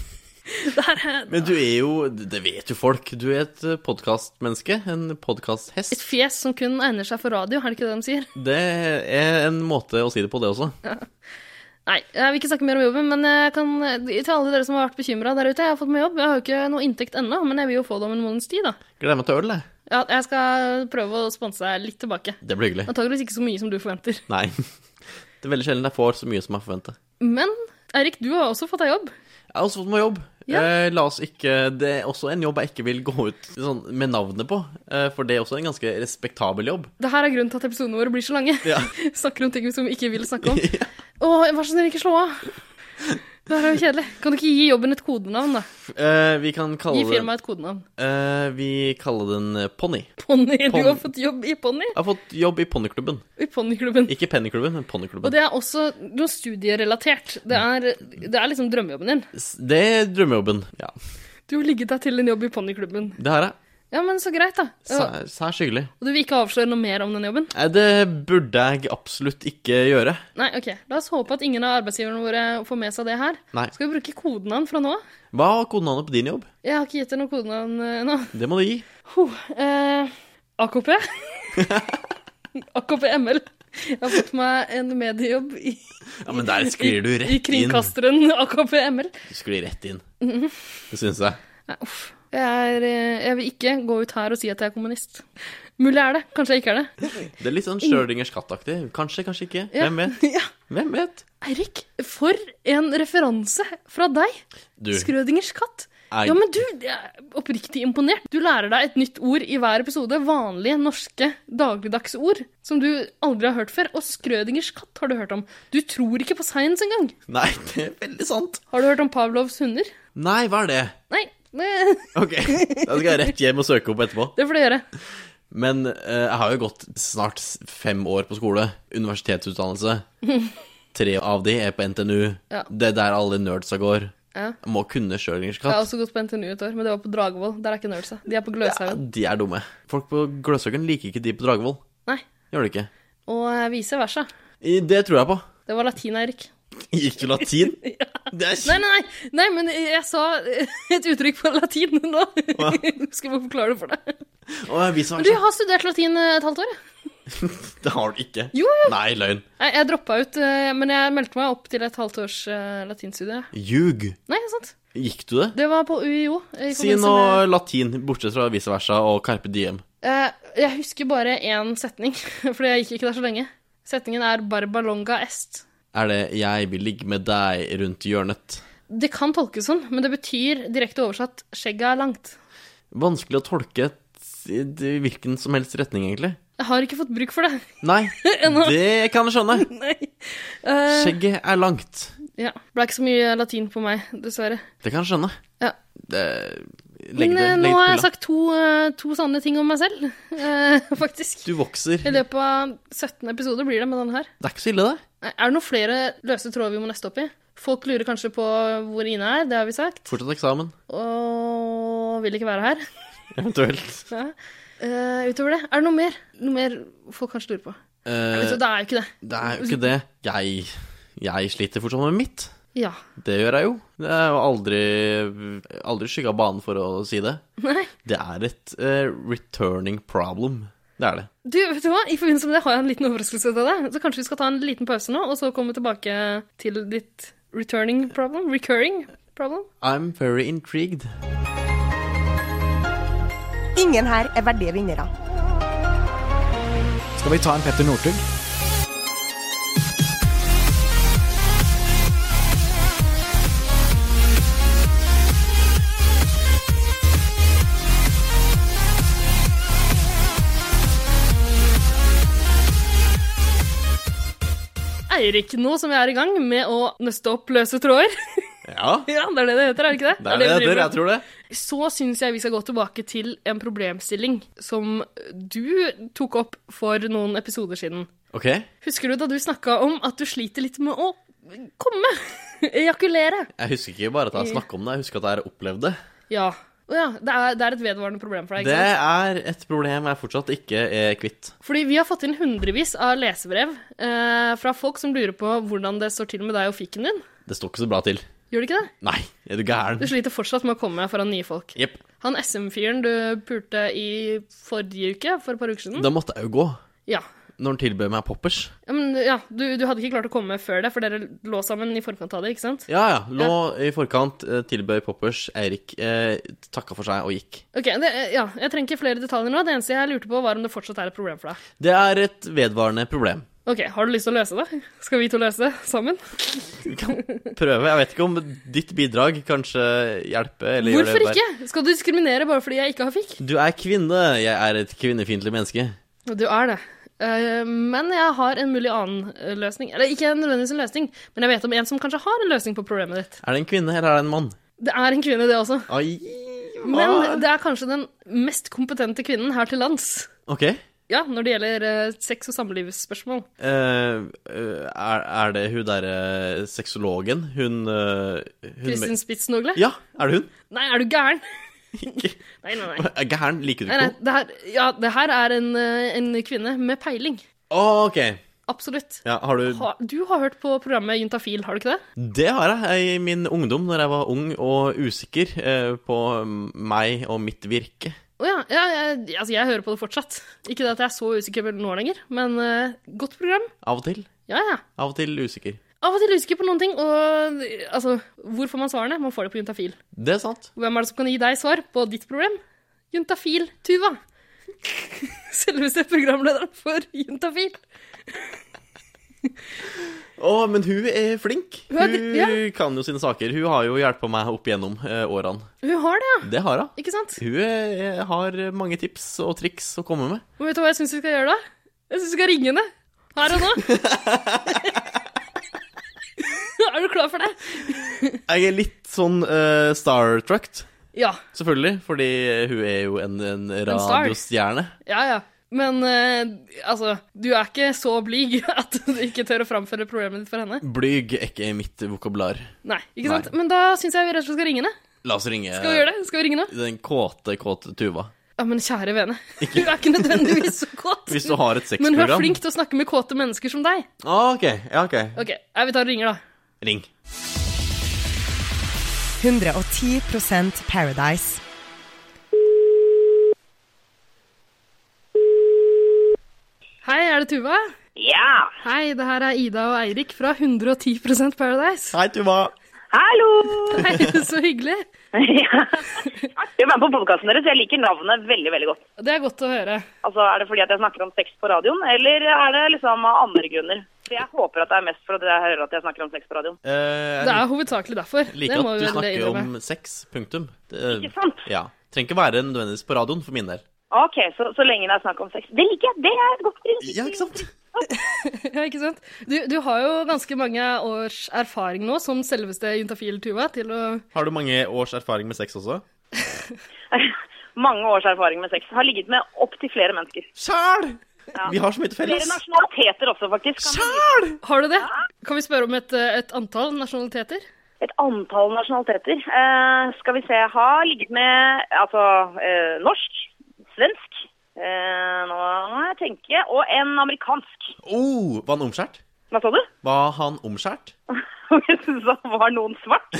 S2: det her er
S1: Men du er jo, det vet jo folk, du er et podkastmenneske. En
S2: et
S1: podkasthest.
S2: fjes som kun egner seg for radio, er det ikke det de sier?
S1: Det er en måte å si det på, det også.
S2: Nei, jeg vil ikke snakke mer om jobben, men jeg kan, eh, til alle dere som har vært bekymra der ute, jeg har fått meg jobb. Jeg har jo ikke noe inntekt ennå, men jeg vil jo få det om en måneds tid, da.
S1: Gleder meg til øl, jeg.
S2: Ja, jeg skal prøve å sponse deg litt tilbake.
S1: Det blir hyggelig.
S2: Antakeligvis ikke så mye som du forventer.
S1: Nei. Det er veldig sjelden jeg får så mye som jeg forventer.
S2: Men Eirik, du har også fått deg jobb.
S1: Jeg har også fått meg jobb.
S2: Ja.
S1: Eh, la oss ikke, Det er også en jobb jeg ikke vil gå ut sånn, med navnet på, eh, for det er også en ganske respektabel jobb.
S2: Det her er grunnen til at episodene våre blir så lange.
S1: Ja.
S2: Snakker om ting som vi ikke vil snakke om.
S1: Ja.
S2: Å, vær så snill, ikke slå av. Det her er jo kjedelig. Kan du ikke gi jobben et kodenavn, da?
S1: Eh, vi kan kalle
S2: Gi
S1: den
S2: firmaet et kodenavn.
S1: eh, Vi kaller den Ponni.
S2: Ponni. Du
S1: Pon-
S2: har fått jobb i Ponni.
S1: Jeg har fått jobb i ponniklubben.
S2: I Ponniklubben.
S1: Ikke pennyklubben, men
S2: Og
S1: ponniklubben.
S2: det er også noe studierelatert. Det er, det er liksom drømmejobben din.
S1: S- Det er drømmejobben. Ja,
S2: Du har ligget deg til en jobb i Ponniklubben.
S1: det har jeg.
S2: Ja, men så greit, da. Ja,
S1: Sær- Særs hyggelig.
S2: Og du vil ikke avsløre noe mer om den jobben?
S1: Nei, Det burde jeg absolutt ikke gjøre.
S2: Nei, ok. La oss håpe at ingen av arbeidsgiverne våre får med seg det her.
S1: Nei.
S2: Skal vi bruke kodenavn fra nå av?
S1: Hva var kodenavnet på din jobb?
S2: Jeg har ikke gitt deg noe kodenavn eh, ennå.
S1: Det må du gi.
S2: Huh, eh, AKP. AKP-ML. Jeg har fått meg en mediejobb i,
S1: Ja, Men der sklir du
S2: i
S1: rett inn.
S2: kringkasteren AKP-ML.
S1: Du sklir rett inn. Det syns jeg.
S2: Nei, uff. Jeg, er, eh, jeg vil ikke gå ut her og si at jeg er kommunist. Mulig jeg er det, kanskje jeg ikke er det.
S1: Det er litt sånn Schjørdingers kattaktig. Kanskje, kanskje ikke.
S2: Ja.
S1: Hvem vet?
S2: Ja.
S1: Hvem vet?
S2: Eirik, for en referanse fra deg!
S1: Du,
S2: Skrødingers katt.
S1: Ei.
S2: Ja, men du, jeg er oppriktig imponert. Du lærer deg et nytt ord i hver episode. Vanlige norske dagligdagse ord som du aldri har hørt før. Og Skrødingers katt har du hørt om. Du tror ikke på science engang.
S1: Nei, det er veldig sant.
S2: Har du hørt om Pavlovs hunder?
S1: Nei, hva er det?
S2: Nei, det,
S1: Ok, da skal jeg rett hjem og søke opp etterpå.
S2: det får du gjøre.
S1: Men eh, jeg har jo gått snart s- fem år på skole. Universitetsutdannelse. Tre av de er på NTNU.
S2: Ja.
S1: Det er der alle nerdsa går.
S2: Ja.
S1: Jeg må kunne Schjørdingers
S2: Jeg har
S1: katt.
S2: også gått på NTNU et år, men det var på Dragvoll. Der er ikke nerdsa. De er på
S1: Ja,
S2: Gløshaugen.
S1: de er dumme. Folk på Gløshaugen liker ikke de på Dragvoll.
S2: Nei.
S1: Gjør de ikke?
S2: Og eh, vice versa.
S1: I- Det tror jeg på.
S2: Det var latin, Eirik.
S1: Gikk du latin? Det er
S2: Nei, nei, nei, nei, men jeg sa et uttrykk på latin nå. Skal bare forklare det for deg.
S1: Å, jeg viser
S2: Men du
S1: meg.
S2: jeg har studert latin eh, et halvt år, jeg.
S1: Det har du ikke.
S2: Jo, jo.
S1: Nei, løgn.
S2: Nei, jeg droppa ut, eh, men jeg meldte meg opp til et halvt års eh, latinstudie.
S1: Ljug.
S2: Nei, sant?
S1: Gikk du det?
S2: Det var på UiO. i
S1: Si
S2: forbindelse
S1: noe
S2: med-
S1: latin, bortsett fra vice versa og carpe diem.
S2: Eh, jeg husker bare én setning, for jeg gikk ikke der så lenge. Setningen er 'barbalonga est'.
S1: Er det 'jeg vil ligge med deg rundt hjørnet'?
S2: Det kan tolkes sånn, men det betyr direkte oversatt 'skjegget er langt'.
S1: Vanskelig å tolke t- i hvilken som helst retning, egentlig.
S2: Jeg har ikke fått bruk for det.
S1: Nei, det kan jeg skjønne.
S2: Nei. Eh,
S1: Skjegget er langt.
S2: ja. Ble ikke så mye latin på meg, dessverre.
S1: Det kan jeg skjønne.
S2: Ja.
S1: Det, legg det,
S2: men eh,
S1: legg
S2: nå har
S1: det på hylla.
S2: jeg sagt to, eh, to sanne ting om meg selv, eh, faktisk.
S1: Du vokser.
S2: I løpet av 17 episoder blir det med denne her.
S1: Det er ikke så ille, det.
S2: Nei, Er det noen flere løse tråder vi må nøste opp i? Folk lurer kanskje på hvor Ine er, det har vi sagt.
S1: Fortsatt eksamen.
S2: Og vil ikke være her.
S1: Eventuelt.
S2: Ja. Eh, utover det, er det noe mer? Noe mer folk kanskje lurer på?
S1: Eh,
S2: Vet du, det er jo ikke det.
S1: det er jo ikke det. Jeg, jeg sliter fortsatt med mitt.
S2: Ja.
S1: Det gjør jeg jo. Det er jo aldri, aldri skygga banen for å si det. Det er et eh, returning problem. Det er det.
S2: Du, vet du hva? I forbindelse med det har jeg en liten overraskelse til deg. Så kanskje vi skal ta en liten pause nå, og så komme tilbake til ditt returning problem? Recurring problem?
S1: I'm very intrigued.
S7: Ingen her er verdige vinnere.
S8: Skal vi ta en Petter Northug?
S2: Eirik, nå som vi er i gang med å nøste opp løse tråder
S1: Ja,
S2: Ja, det er det det heter, er det ikke det?
S1: det er det
S2: vi
S1: det heter.
S2: driver med.
S1: Jeg tror det.
S2: Så syns jeg vi skal gå tilbake til en problemstilling som du tok opp for noen episoder siden.
S1: Ok.
S2: Husker du da du snakka om at du sliter litt med å komme? Ejakulere.
S1: Jeg husker ikke bare at jeg snakka om det, jeg husker at jeg har opplevd det.
S2: Ja. Å ja det, er, det er et vedvarende problem for deg.
S1: Det
S2: ikke sant?
S1: er et problem jeg fortsatt ikke er kvitt.
S2: Fordi vi har fått inn hundrevis av lesebrev eh, fra folk som lurer på hvordan det står til med deg og fikken din.
S1: Det står ikke så bra til.
S2: Gjør det ikke det?
S1: Nei, er du gæren?
S2: Du sliter fortsatt med å komme foran nye folk.
S1: Jepp.
S2: Han SM-fyren du pulte i forrige uke, for et par uker siden.
S1: Da måtte jeg jo gå.
S2: Ja.
S1: Når han tilbød meg poppers.
S2: Ja, men, ja du, du hadde ikke klart å komme før det, for dere lå sammen i forkant av det, ikke sant?
S1: Ja, ja. Lå i forkant, eh, tilbød poppers. Eirik eh, takka for seg og gikk.
S2: Ok, det, ja, Jeg trenger ikke flere detaljer nå. Det eneste jeg lurte på, var om det fortsatt er et problem for deg.
S1: Det er et vedvarende problem.
S2: Ok, Har du lyst til å løse det? Skal vi to løse det sammen?
S1: Prøve. Jeg vet ikke om ditt bidrag kanskje hjelper. Eller gjør
S2: Hvorfor
S1: det
S2: ikke? Skal du diskriminere bare fordi jeg ikke har fikk?
S1: Du er kvinne. Jeg er et kvinnefiendtlig menneske.
S2: Du er det. Eh, Men jeg har en mulig annen eh, løsning. Eller ikke nødvendigvis en løsning, men jeg vet om en som kanskje har en løsning på problemet ditt.
S1: Er det en kvinne, eller er det en mann?
S2: Det er en kvinne, det også.
S1: Ai. hva?
S2: Men det er kanskje den mest kompetente kvinnen her til lands.
S1: Ok.
S2: Ja, når det gjelder eh, sex- og samlivsspørsmål.
S1: Eh, eh, er, er det hun derre sexologen? Hun, eh, hun
S2: Kristin Spitsnogle?
S1: Ja, er det hun?
S2: Nei, er du gæren?
S1: Ikke.
S2: Nei, nei, nei.
S1: Er Gæren, liker du ikke
S2: nei, nei
S1: henne?
S2: det, her, ja, det her er en, eh, en kvinne med peiling.
S1: Å, ok.
S2: Absolutt.
S1: Ja, har du
S2: Ha, du har hørt på programmet Juntafil, har du ikke det?
S1: Det har jeg. I min ungdom, når jeg var ung og usikker eh, på meg og mitt virke.
S2: Å ja, ja, jeg- altså, jeg hører på det fortsatt. Ikke det at jeg er så usikker nå lenger, men eh, godt program.
S1: Av og til.
S2: Ja, ja.
S1: Av og til usikker.
S2: Av og til usikker på noen ting, og eh, altså, hvor får man svarene? Man får det på Juntafil.
S1: Det er sant.
S2: Hvem er det som kan gi deg svar på ditt problem? Juntafil Tuva. Selveste programlederen for Juntafil.
S1: Å, men hun er flink.
S2: Hun er
S1: Hun
S2: dri- ja.
S1: kan jo sine saker. Hun har jo hjulpet meg opp igjennom eh, årene.
S2: Hun har det, ja.
S1: Det har hun.
S2: Ikke sant?
S1: Hun eh, har mange tips og triks å komme med.
S2: Og vet du hva jeg syns vi skal gjøre da? Jeg syns vi skal ringe henne. Her og nå. er du klar for det?
S1: Jeg er litt sånn uh, starstrucked,
S2: Ja.
S1: selvfølgelig, fordi hun er jo en, en
S2: star.
S1: radiostjerne.
S2: Ja, ja. Men eh, altså, du er ikke så blyg at du ikke tør å framføre problemet ditt for henne.
S1: Blyg er ikke mitt vokabular.
S2: Nei, ikke
S1: Nei. Eh.
S2: sant? Men da syns jeg vi rett og slett skal ringe henne.
S1: La oss ringe
S2: Skal vi gjøre det? Skal vi ringe nå?
S1: den kåte, kåte Tuva.
S2: Ja, men kjære vene. Hun er ikke nødvendigvis så kåt.
S1: Hvis du har et
S2: Men
S1: sexprogram.
S2: hun er flink til å snakke med kåte mennesker som deg.
S1: Ah, ok, ja, ok.
S2: Ok, ja, Vi tar og ringer, da.
S1: Ring.
S7: 110 Paradise.
S2: Hei, er det Tuva? Ja. Hei, det her er Ida og Eirik fra 110 Paradise.
S1: Hei, Tuva.
S8: Hallo!
S2: Hei, så hyggelig.
S8: Ja. Artig å være med på podkasten deres. Jeg liker navnet veldig veldig godt.
S2: Det er godt å høre.
S8: Altså, Er det fordi at jeg snakker om sex på radioen, eller er det liksom av andre grunner? For Jeg håper at det er mest fordi jeg hører at jeg snakker om sex på radioen.
S1: Eh,
S2: Det er hovedsakelig derfor.
S1: Jeg
S2: det
S1: liker at
S2: må vi
S1: du
S2: vel
S1: snakker
S2: innrømme.
S1: om sex. Punktum. Det-
S8: Ikke sant?
S1: Ja. Trenger ikke være nødvendigvis på radioen, for min del.
S8: Ok, så, så lenge det er snakk om sex. Det liker jeg! Det er et godt prinsipp.
S1: Ja, ikke sant?
S2: Ja, ikke sant? Du, du har jo ganske mange års erfaring nå som selveste juntafil Tuva til å
S1: Har du mange års erfaring med sex også?
S8: Mange års erfaring med sex. Har ligget med opptil flere mennesker.
S1: Sjæl!
S8: Ja.
S1: Vi har så mye til
S8: Flere
S1: felles.
S8: nasjonaliteter også, faktisk. Kan man si.
S2: Har du det? Kan vi spørre om et, eh, et antall nasjonaliteter?
S8: Et antall nasjonaliteter. Eh, skal vi se Jeg har ligget med altså eh, norsk, svensk eh, Nå må jeg tenke. Og en amerikansk.
S1: Oh, var han omskjært?
S8: Hva sa du?
S1: Var han omskjært?
S8: Hvis du sa var noen svart?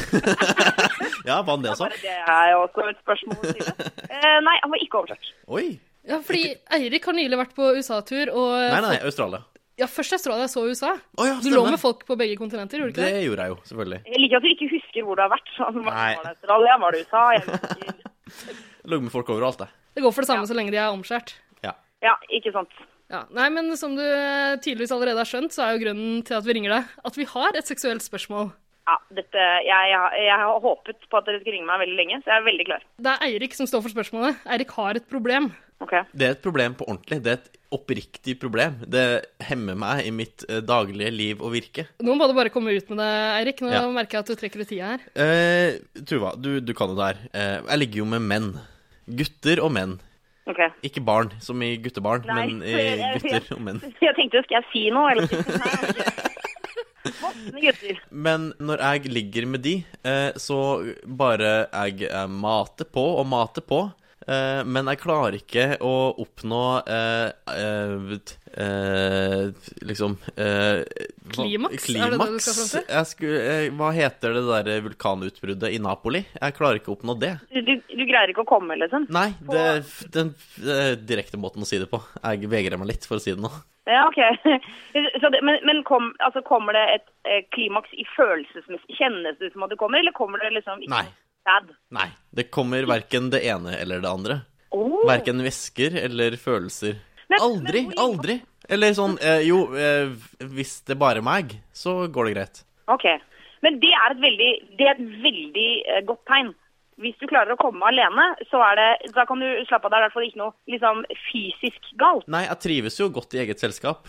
S1: Ja, var han det også?
S8: Det er jo også et spørsmål. å stille. Eh, nei, han var ikke oversett.
S1: Oi.
S2: Ja, fordi Eirik har nylig vært på USA-tur, og eh,
S1: Nei, nei, nei, Australia.
S2: Ja, først Australia, så USA.
S1: Å ja,
S2: Du lå
S1: stemmer.
S2: med folk på begge kontinenter, gjorde du ikke det?
S1: Det gjorde jeg jo, selvfølgelig.
S8: Jeg liker at du ikke husker hvor du har vært. Altså, var
S1: Nei.
S8: det Australia? Var det USA? Jeg husker.
S1: Lå med folk overalt, jeg.
S2: Det går for det samme så lenge de er omskjært.
S8: Ja, ikke sant.
S2: Ja, nei, men Som du eh, tydeligvis allerede har skjønt, så er jo grunnen til at vi ringer deg, at vi har et seksuelt spørsmål.
S8: Ja, dette, jeg, jeg, jeg har håpet på at dere skulle ringe meg veldig lenge, så jeg er veldig klar.
S2: Det er Eirik som står for spørsmålet. Eirik har et problem.
S8: Ok.
S1: Det er et problem på ordentlig. Det er et oppriktig problem. Det hemmer meg i mitt eh, daglige liv og virke.
S2: Nå må du bare komme ut med det, Eirik. Nå
S1: Ja.
S2: merker jeg at du trekker ut tida her.
S1: Eh, Tuva, du, du kan jo det her. Eh, jeg ligger jo med menn. Gutter og menn.
S8: ok.
S1: Ikke barn, som i guttebarn,
S8: Nei,
S1: men
S8: jeg-
S1: i
S8: jeg-
S1: gutter og menn.
S8: Jeg tenkte, skal jeg si noe? Eller? Nei, ok. Voksne gutter.
S1: Men når jeg ligger med de, eh, så bare jeg eh, mater på og mater på. eh, Men jeg klarer ikke å oppnå eh, eh, t- eh, liksom eh, hva-
S2: Klimaks? Er det det du
S1: Klimaks?
S2: skal fram til?
S1: Jeg skulle, eh, hva heter det derre vulkanutbruddet i Napoli? Jeg klarer ikke å oppnå det.
S8: Du, du, du greier ikke å komme, liksom?
S1: Nei, det er f- den f- eh, direkte måten å si det på. Jeg vegrer meg litt for å si det nå.
S8: Ja, ok. Så det, men men kom, altså, kommer det et eh, klimaks i følelsesmessig Kjennes det ut som at du kommer, eller kommer det liksom ikke
S1: Nei.
S8: Sad.
S1: Nei. Det kommer verken det ene eller det andre.
S8: Oh.
S1: Verken væsker eller følelser.
S8: Men-
S1: Aldri,
S8: men hvor-
S1: aldri. Eller sånn eh, Jo, eh, hvis det bare er meg, så går det greit.
S8: Ok. Men det er et veldig, det er et veldig eh, godt tegn. Hvis du klarer å komme alene, så er det, da kan du slappe av. Det er i hvert fall ikke noe liksom, fysisk galt.
S1: Nei, jeg trives jo godt i eget selskap.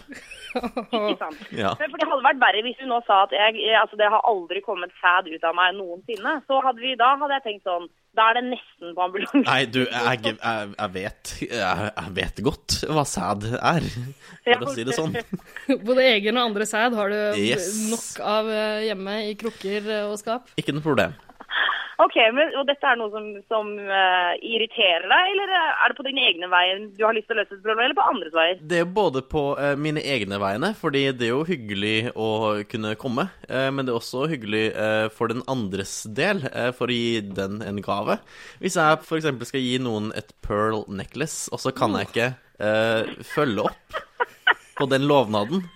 S8: Ikke sant?
S1: Ja.
S8: Men for Det hadde vært verre hvis du nå sa at jeg, eh, altså, det har aldri kommet sæd ut av meg noensinne. Så hadde vi, da hadde jeg tenkt sånn Da er det nesten på ambulanse.
S1: Nei, du, jeg, jeg, jeg vet jeg, jeg vet godt hva sæd er, for å si det sånn.
S2: Både egen og andre sæd har du
S1: Yes.
S2: nok av eh, hjemme i krukker eh, og skap.
S1: Ikke noe problem.
S8: Ok, men, Og dette er noe som, som eh, irriterer deg, eller eh, er det på dine egne veier du har lyst til å løse et problem, eller på andres veier?
S1: Det er jo både på eh, mine egne vegne, fordi det er jo hyggelig å kunne komme. eh, men det er også hyggelig eh, for den andres del, eh, for å gi den en gave. Hvis jeg f.eks. skal gi noen et pearl necklace, og så kan jeg ikke eh, følge opp på den lovnaden,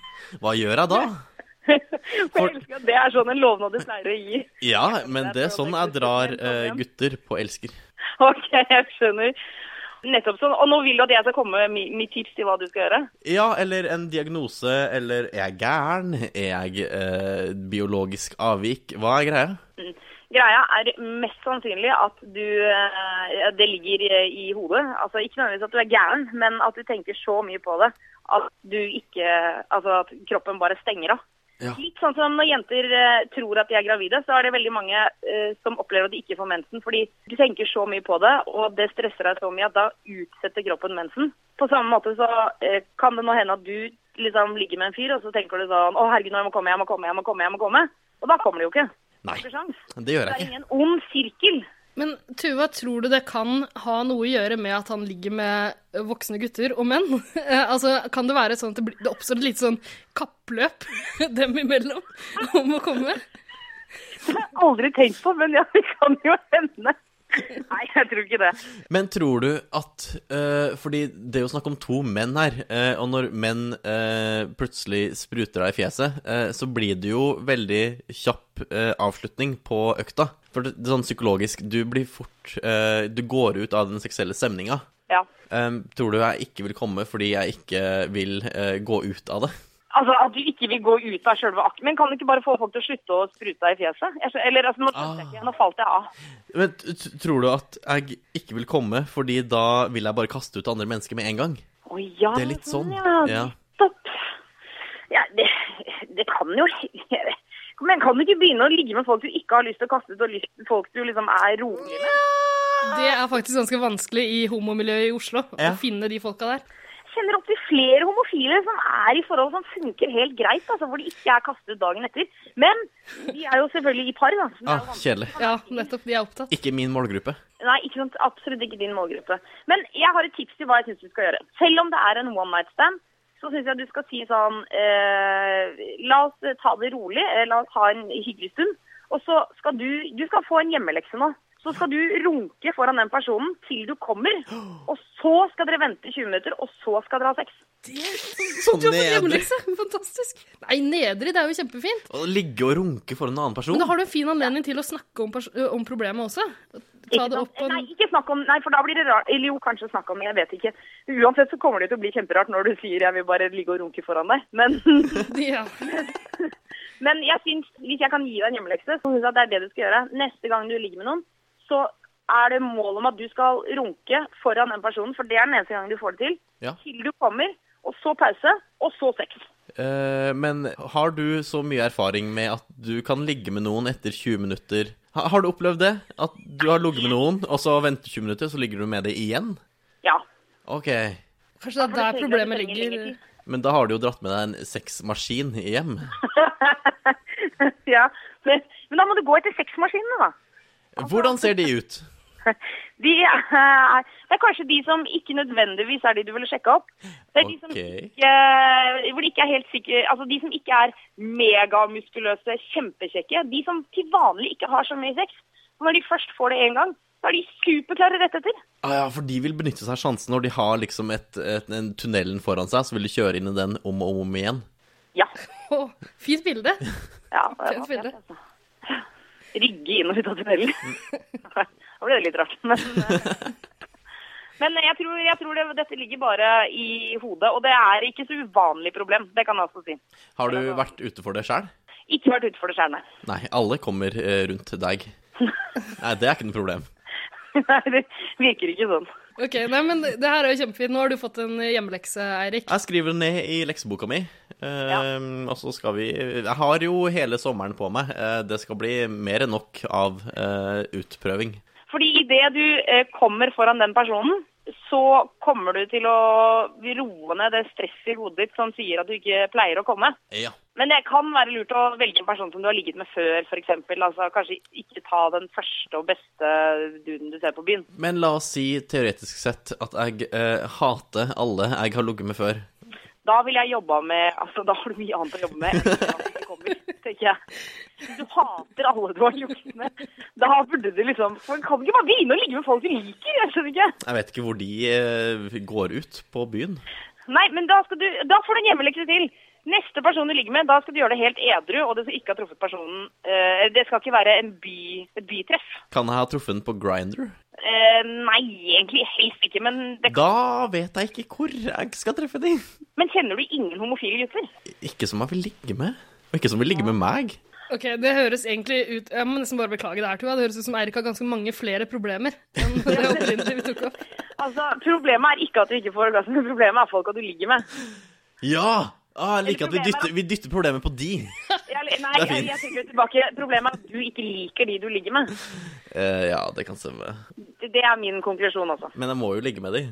S1: hva gjør jeg da?
S8: For... Jeg elsker at det er sånn en lovnad du pleier å gi.
S1: Ja, men det er sånn jeg drar eh, gutter på elsker.
S8: Ok, jeg skjønner. Nettopp sånn. Og nå vil du at jeg skal komme med mi- mitt tips til hva du skal gjøre.
S1: Ja, eller en diagnose, eller er jeg gæren? Er jeg eh, biologisk avvik? Hva er greia?
S8: Greia er mest sannsynlig at du eh, Det ligger eh, i hodet. Altså ikke nødvendigvis at du er gæren, men at du tenker så mye på det at du ikke Altså at kroppen bare stenger av.
S1: Ja.
S8: Litt sånn som når jenter eh, tror at de er gravide, så er det veldig mange eh, som opplever at de ikke får mensen. Fordi du tenker så mye på det, og det stresser deg så mye at da utsetter kroppen mensen. På samme måte så eh, kan det nå hende at du liksom ligger med en fyr, og så tenker du sånn Å, herregud, nå jeg må komme, jeg må komme, jeg må komme, jeg må komme. Og da kommer det jo ikke.
S1: Nei,
S8: Ikke sjans.
S1: det gjør jeg
S8: Det er
S1: ikke.
S8: ingen ond sirkel.
S2: Men Tuva, tror du det kan ha noe å gjøre med at han ligger med voksne gutter og menn? Eh, altså, Kan det være sånn at det, blir, det oppstår et lite sånn kappløp dem imellom om å komme?
S8: Aldri tenkt på, men ja, det kan jo hende. Nei, jeg tror ikke det.
S1: Men tror du at eh, Fordi det er jo snakk om to menn her, eh, og når menn eh, plutselig spruter deg i fjeset, eh, så blir det jo veldig kjapp eh, avslutning på økta. For det, det er sånn psykologisk Du blir fort eh, Du går ut av den seksuelle stemninga.
S8: Ja.
S1: Eh, tror du jeg ikke vil komme fordi jeg ikke vil eh, gå ut av det?
S8: Altså, At du ikke vil gå ut av sjølve akten. Men kan du ikke bare få folk til å slutte å sprute deg i fjeset? Jeg skjø- Eller altså, nå
S1: Ah.
S8: skjønte jeg ikke, nå falt jeg av.
S1: Men t t- tror du at jeg ikke vil komme fordi da vil jeg bare kaste ut andre mennesker med en gang?
S8: Å ja,
S1: Det er litt sånn. Ja.
S8: Nettopp. Ja, det, det kan jo Men kan du ikke begynne å ligge med folk du ikke har lyst til å kaste ut, og lyst til folk du liksom er rolig med?
S2: Det er faktisk ganske vanskelig i homomiljøet i Oslo
S1: Ja.
S2: å finne de folka der.
S8: kjenner opp til flere homofile som er i forhold som funker helt greit, altså, hvor de ikke er kastet ut dagen etter. Men de er jo selvfølgelig i par, da. Så det er jo
S1: Ah,
S8: vanskelig.
S1: kjedelig.
S2: Ja, nettopp. De er opptatt.
S1: Ikke min målgruppe.
S8: Nei, ikke sant, absolutt ikke din målgruppe. Men jeg har et tips til hva jeg syns du skal gjøre. Selv om det er en one night stand, så syns jeg du skal si sånn eh, La oss ta det rolig, eh, la oss ha en hyggelig stund. Og så skal du Du skal få en hjemmelekse nå. Så skal du runke foran den personen til du kommer. Og så skal dere vente 20 minutter, og så skal dere ha sex.
S1: Sånn
S2: Du har fått
S1: nedrig.
S2: hjemmelekse! Fantastisk. Nei, nedrig, det er jo kjempefint.
S1: Å ligge og runke for en annen person?
S2: Men da har du en fin anledning til å snakke om, pers- ø, om problemet også. Ta
S8: Ikke
S2: det
S8: sant?
S2: opp på
S8: Nei, ikke snakk om Nei, for da blir det rart. Eller jo, kanskje snakk om Jeg vet ikke. Uansett så kommer det til å bli kjemperart når du sier 'jeg vil bare ligge og runke foran deg'. Men,
S2: ja.
S8: men jeg syns, hvis jeg kan gi deg en hjemmelekse, så syns jeg at det er det du skal gjøre. Neste gang du ligger med noen, så er det mål om at du skal runke foran den personen, for det er den eneste gangen du får det til.
S1: Ja.
S8: Til du kommer, og så pause, og så sex.
S1: Eh, men har du så mye erfaring med at du kan ligge med noen etter 20 minutter? Ha, har du opplevd det? At du har ligget med noen, og så venter 20 minutter, så ligger du med det igjen?
S8: Ja.
S1: Ok.
S2: Kanskje det er der
S8: trenger-
S2: problemet
S8: det trenger
S2: ligger.
S8: lengre tid.
S1: Men da har du jo dratt med deg en sexmaskin hjem.
S8: ja. Men, men da må du gå etter sexmaskinene, da.
S1: Hvordan ser de ut?
S8: De er, det er kanskje de som ikke nødvendigvis er de du ville sjekke opp. Det er de som
S1: Ok.
S8: ikke, hvor de ikke er helt sikre, altså de som ikke er megamuskuløse, kjempekjekke. De som til vanlig ikke har så mye sex. Når de først får det én gang, så er de superklare rett etter.
S1: Ah, ja, for de vil benytte seg av sjansen når de har liksom et, et, en tunnelen foran seg, så vil de kjøre inn i den om og om igjen.
S8: Ja.
S2: Å, fint bilde.
S8: ja
S2: Fint
S8: ja,
S2: bilde.
S8: altså. Rygge inn og ut av tunnelen. da ble det litt rart. Men, eh, men jeg tror, jeg tror det, dette ligger bare i hodet, og det er ikke så uvanlig problem. Det kan jeg også si.
S1: Har du vært ute for det sjøl?
S8: Ikke vært ute for det skjærende.
S1: Nei, alle kommer eh, rundt deg. Nei, det er ikke noe problem.
S8: Nei, det virker ikke sånn.
S2: Ok, nei, men det det her er jo kjempefint. Nå har du fått en hjemmelekse, Eirik.
S1: Jeg skriver det ned i lekseboka mi. eh, Og så skal vi Jeg har jo hele sommeren på meg. Eh, det skal bli mer enn nok av eh, utprøving.
S8: Fordi idet du eh, kommer foran den personen, så kommer du til å roe ned det stresset i hodet ditt som sier at du ikke pleier å komme.
S1: Ja.
S8: Men det kan være lurt å velge en person som du har ligget med før, f.eks. Altså, kanskje ikke ta den første og beste duden du ser på byen.
S1: Men la oss si teoretisk sett at jeg eh, hater alle jeg har ligget med før.
S8: Da vil jeg jobbe med Altså, da har du mye annet å jobbe med enn at du ikke kommer, tenker jeg. Hvis du hater alle du har ligget med, da burde du liksom Man kan ikke bare begynne å ligge med folk du liker, jeg skjønner ikke.
S1: Jeg vet ikke hvor de eh, går ut på byen.
S8: Nei, men da, skal du, da får du en hjemmelekse til. Neste person du ligger med, da skal du gjøre det helt edru, og det skal ikke ha truffet personen. eh, det skal ikke være en by, et bytreff.
S1: Kan jeg ha truffet den på Grinder?
S8: Eh, nei, egentlig helst ikke, men, det,
S1: Da vet jeg ikke hvor jeg skal treffe de.
S8: men kjenner du ingen homofile gutter?
S1: Ikke som jeg vil ligge med. Og ikke som vil ligge med meg.
S2: Ok, Det høres egentlig ut Jeg må nesten bare beklage det her, Tua. Det høres ut som Eirik har ganske mange flere problemer enn det opprinnelige vi tok opp.
S8: Altså, Problemet er ikke at du ikke får orgasme, problemet er folka du ligger med.
S1: Ja! Ah, jeg liker at vi
S8: Eller problemet er
S1: dytter, vi dytter problemet på de.
S8: Jeg, nei,
S1: Det er
S8: jeg,
S1: fint.
S8: jeg tenker tilbake. Problemet er at du ikke liker de du ligger med.
S1: Eh, ja, det kan stemme.
S8: Det, det er min konklusjon også.
S1: Men jeg må jo ligge med de.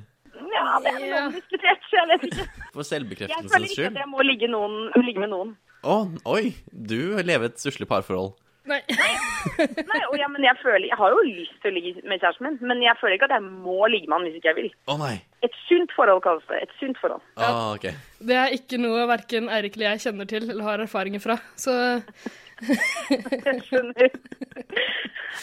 S8: Ja, det er noe diskutert, så jeg vet ikke.
S1: For
S8: Jeg føler
S1: selvbekreftelsens
S8: ikke
S1: skyld?
S8: at jeg må ligge, noen, ligge med noen.
S1: Å, oi! Du lever et stusslig parforhold.
S2: Nei,
S8: Nei, og ja, men jeg føler Jeg har jo lyst til å ligge med kjæresten min, men jeg føler ikke at jeg må ligge med han hvis ikke jeg vil.
S1: Å nei!
S8: Et sunt forhold kalles det. Et sunt forhold.
S1: Ah, ok.
S2: Det er ikke noe verken Eirik eller jeg kjenner til eller har erfaringer fra. Så
S8: Skjønner.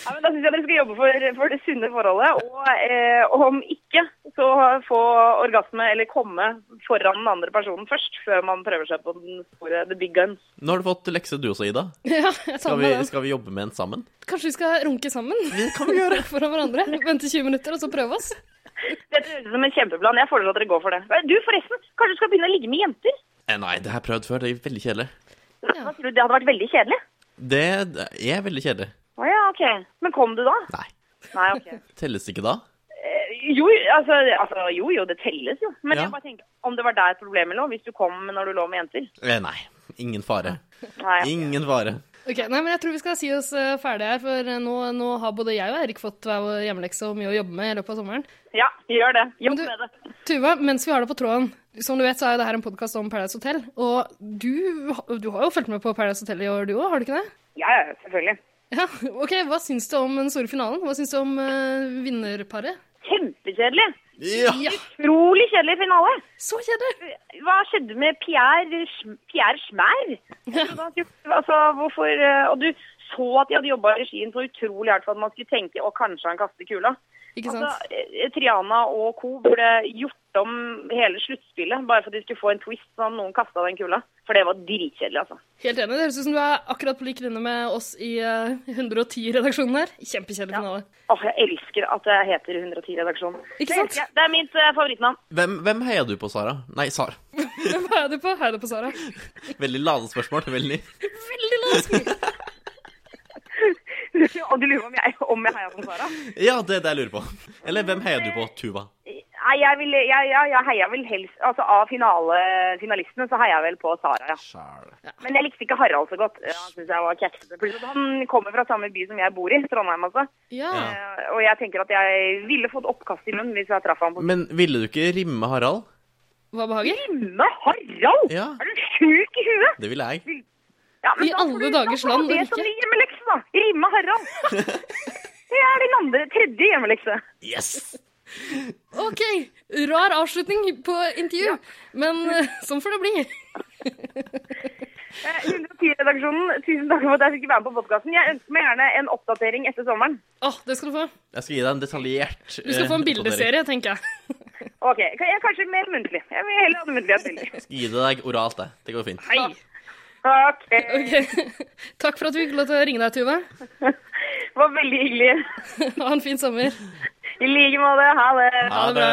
S8: Ja, men da syns jeg dere skal jobbe for, for det sunne forholdet. Og eh, om ikke, så få orgasme eller komme foran den andre personen først, før man prøver seg på den store the big gun.
S1: Nå har du fått lekse, du også, Ida.
S2: Ja, jeg tar
S1: Skal vi,
S2: med den.
S1: skal vi jobbe med en sammen?
S2: Kanskje vi skal runke sammen? Det kan vi gjøre. Foran hverandre. Vente 20 minutter, og så prøve oss.
S8: Dette høres ut som en kjempeplan. Jeg foreslår at dere går for det. Du, forresten, kanskje du skal begynne å ligge med jenter?
S1: Eh, nei, det har jeg prøvd før. Det er veldig kjedelig.
S8: Hva tror du, Det hadde vært veldig kjedelig.
S1: Det er veldig kjedelig.
S8: Å ja, OK. Men kom du da?
S1: Nei.
S8: Nei, OK.
S1: Telles ikke da?
S8: Jo, altså, altså, jo, jo, det telles jo. Men
S1: Ja.
S8: jeg bare tenker, om det var der problemet lå, hvis du kom når du lå med jenter.
S1: Eh, nei. Ingen fare.
S8: Nei.
S1: Ingen fare.
S2: Ok, nei, men Jeg tror vi skal si oss eh, ferdige her, for eh, nå, nå har både jeg og Eirik fått hver vår hjemmelekse og mye å jobbe med i løpet av sommeren.
S8: Ja, gjør det. Jobb
S2: Men du-
S8: med det.
S2: Tuva, mens vi har deg på tråden, som du vet, så er jo det her en podkast om Paradise Hotel. Og du, du har jo fulgt med på Paradise Hotel i år, du òg, har du ikke det?
S8: Ja, ja, selvfølgelig.
S2: Ja, ok, Hva syns du om den store finalen? Hva syns du om eh, vinnerparet?
S8: Kjempekjedelig.
S1: Ja!
S2: Ja,
S8: Utrolig kjedelig finale.
S2: så kjedelig!
S8: Hva skjedde med Pierre, Sch- Pierre Schmær? Altså, hvorfor eh, Og du så at de hadde jobba regien så utrolig hardt for at man skulle tenke og kanskje han kaster kula.
S2: Ikke sant?
S8: Altså, eh, Triana og co. burde gjort om hele sluttspillet bare for at de skulle få en twist sånn noen kasta den kula. For det var dritkjedelig, altså.
S2: Helt enig. Det høres ut som du er akkurat på lik linje med oss i eh, 110-redaksjonen her. Kjempekjedelig finale.
S8: Åh, jeg elsker at jeg heter 110-redaksjonen.
S2: Ikke sant?
S8: Det er mitt eh, favorittnavn.
S1: Hvem, hvem heier du på, Sara? Nei, Sara.
S2: Hvem heier du på? Heier du på Sara?
S1: Veldig lade spørsmål. Veldig.
S2: Veldig låst!
S8: og du lurer om jeg, om jeg heia på Sara?
S1: Ja, det er det jeg lurer på. Eller hvem heier du på, Tuva?
S8: Nei, jeg, vil, jeg, jeg, jeg heier vel helst Altså av finale, finalistene så heier jeg vel på Sara, ja.
S1: Sjæl.
S8: Men jeg likte ikke Harald så godt. Ja, Han syns jeg var kjeksete. Pluss at han kommer fra samme by som jeg bor i, Trondheim altså.
S2: Ja.
S1: Ja.
S8: Eh, Og jeg tenker at jeg ville fått oppkast i munnen hvis jeg traff ham på
S1: Men ville du ikke rimme Harald?
S2: Hva behager?
S8: Rimme Harald!
S1: Ja.
S8: Er du sjuk i huet?
S1: Det ville jeg.
S8: Ja, men
S2: I
S8: da får
S2: alle
S8: du-
S2: dagers land og
S8: Da får du det som
S2: rike.
S8: din hjemmelekse, da. Rimme Harald. Det er din andre, tredje hjemmelekse.
S1: Yes!
S2: OK, rar avslutning på intervju, men eh, sånn får det bli.
S8: Eh, 110-redaksjonen, tusen takk for at jeg fikk være med på podkasten. Jeg ønsker meg gjerne en oppdatering etter sommeren.
S2: Åh, det skal du få.
S1: Jeg skal gi deg en detaljert eh,
S2: Du skal få en bildeserie, tenker jeg.
S8: Ok, kan- jeg, kanskje mer muntlig. Jeg vil heller ha det muntlig enn muntlig.
S1: Gi det deg oralt, det. Det går fint.
S2: Hei.
S8: Ok,
S2: Ok. Takk for at vi fikk lov til å ringe deg, Tuva.
S8: det var veldig hyggelig.
S2: Ha en fin sommer.
S8: I like måte, ha det.
S1: Ha det.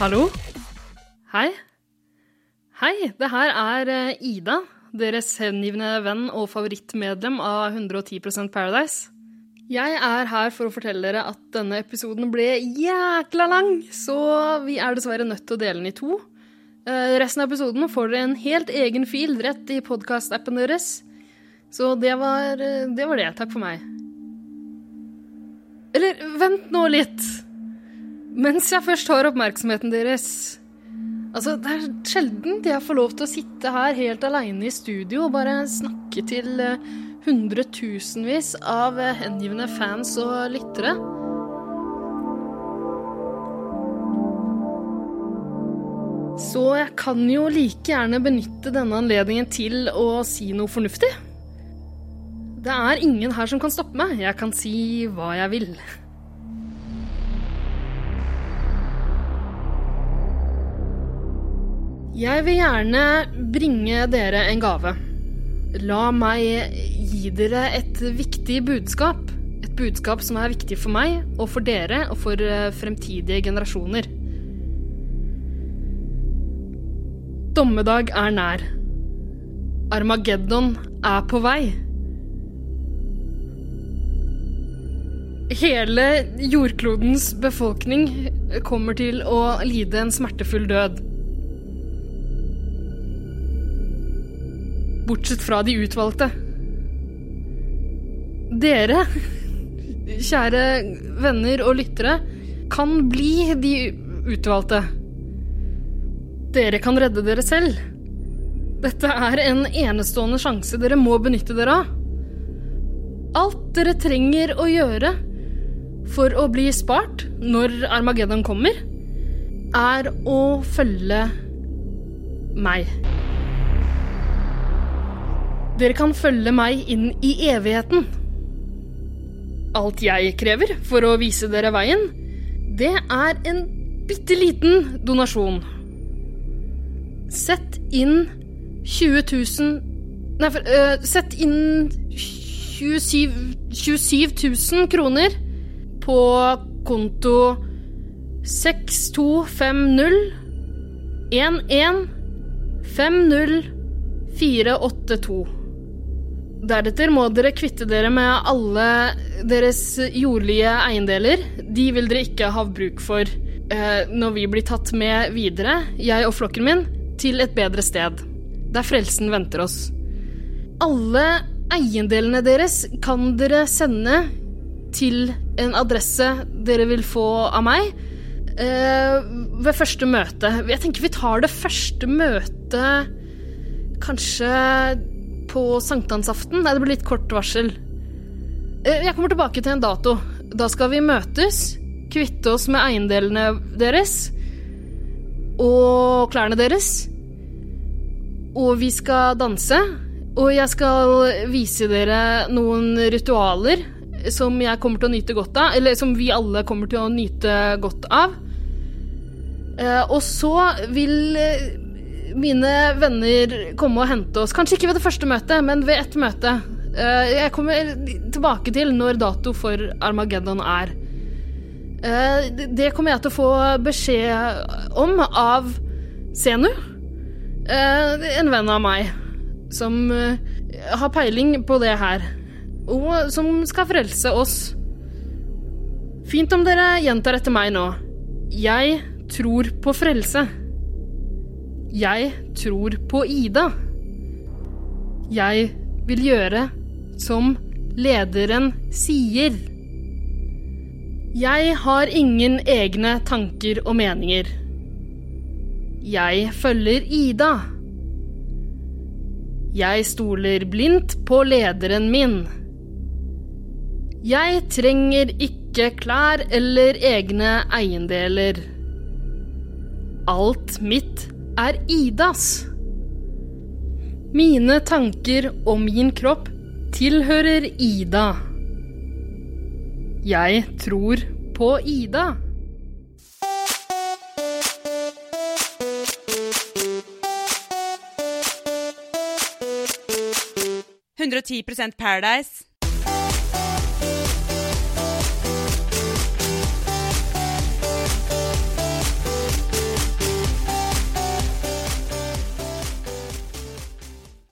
S2: Hallo? Hei. Hei, det her er eh, Ida, deres hengivne venn og favorittmedlem av 110 Paradise. Jeg er her for å fortelle dere at denne episoden ble jækla lang, så vi er dessverre nødt til å dele den i to. Eh, Resten av episoden får dere en helt egen fil rett i podkastappen deres. Så det var, eh, det var det. Takk for meg. Eller, vent nå litt. Mens jeg først har oppmerksomheten deres Altså, det er sjelden jeg får lov til å sitte her helt aleine i studio og bare snakke til eh, hundretusenvis av eh, hengivne fans og lyttere. Så jeg kan jo like gjerne benytte denne anledningen til å si noe fornuftig. Det er ingen her som kan stoppe meg. Jeg kan si hva jeg vil. Jeg vil gjerne bringe dere en gave. La meg gi dere et viktig budskap. Et budskap som er viktig for meg og for dere og for eh, fremtidige generasjoner. Dommedag er nær. Armageddon er på vei. Hele jordklodens befolkning kommer til å lide en smertefull død. Bortsett fra de utvalgte. Dere, kjære venner og lyttere, kan bli de utvalgte. Dere kan redde dere selv. Dette er en enestående sjanse dere må benytte dere av. Alt dere trenger å gjøre for å bli spart når Armageddon kommer, er å følge meg. Dere kan følge meg inn i evigheten. Alt jeg krever for å vise dere veien, det er en bitte liten donasjon. Sett inn 20 000 Nei, for, øh, sett inn 27, 27 000 kroner på konto 6250 11 50482. Deretter må dere kvitte dere med alle deres jordlige eiendeler. De vil dere ikke ha bruk for eh, når vi blir tatt med videre, jeg og flokken min, til et bedre sted, der frelsen venter oss. Alle eiendelene deres kan dere sende til en adresse dere vil få av meg eh, ved første møte. Jeg tenker vi tar det første møtet kanskje på sankthansaften. Nei, det blir litt kort varsel. Eh, Jeg kommer tilbake til en dato. Da skal vi møtes, kvitte oss med eiendelene deres og klærne deres. Og vi skal danse. Og jeg skal vise dere noen ritualer som jeg kommer til å nyte godt av. Eller som vi alle kommer til å nyte godt av. Eh, Og så vil eh, mine venner komme og hente oss. Kanskje ikke ved det første møtet, men ved ett møte. Eh, Jeg kommer tilbake til når dato for Armageddon er. Eh, det- Det kommer jeg til å få beskjed om av Senu. Eh, En venn av meg som eh, har peiling på det her. Og som skal frelse oss. Fint om dere gjentar etter meg nå. Jeg tror på frelse. Jeg tror på Ida. Jeg vil gjøre som lederen sier. Jeg har ingen egne tanker og meninger. Jeg følger Ida. Jeg stoler blindt på lederen min. Jeg trenger ikke klær eller egne eiendeler. Alt mitt er Idas. Mine tanker om min kropp tilhører Ida. Jeg tror på Ida.
S3: «110% Paradise».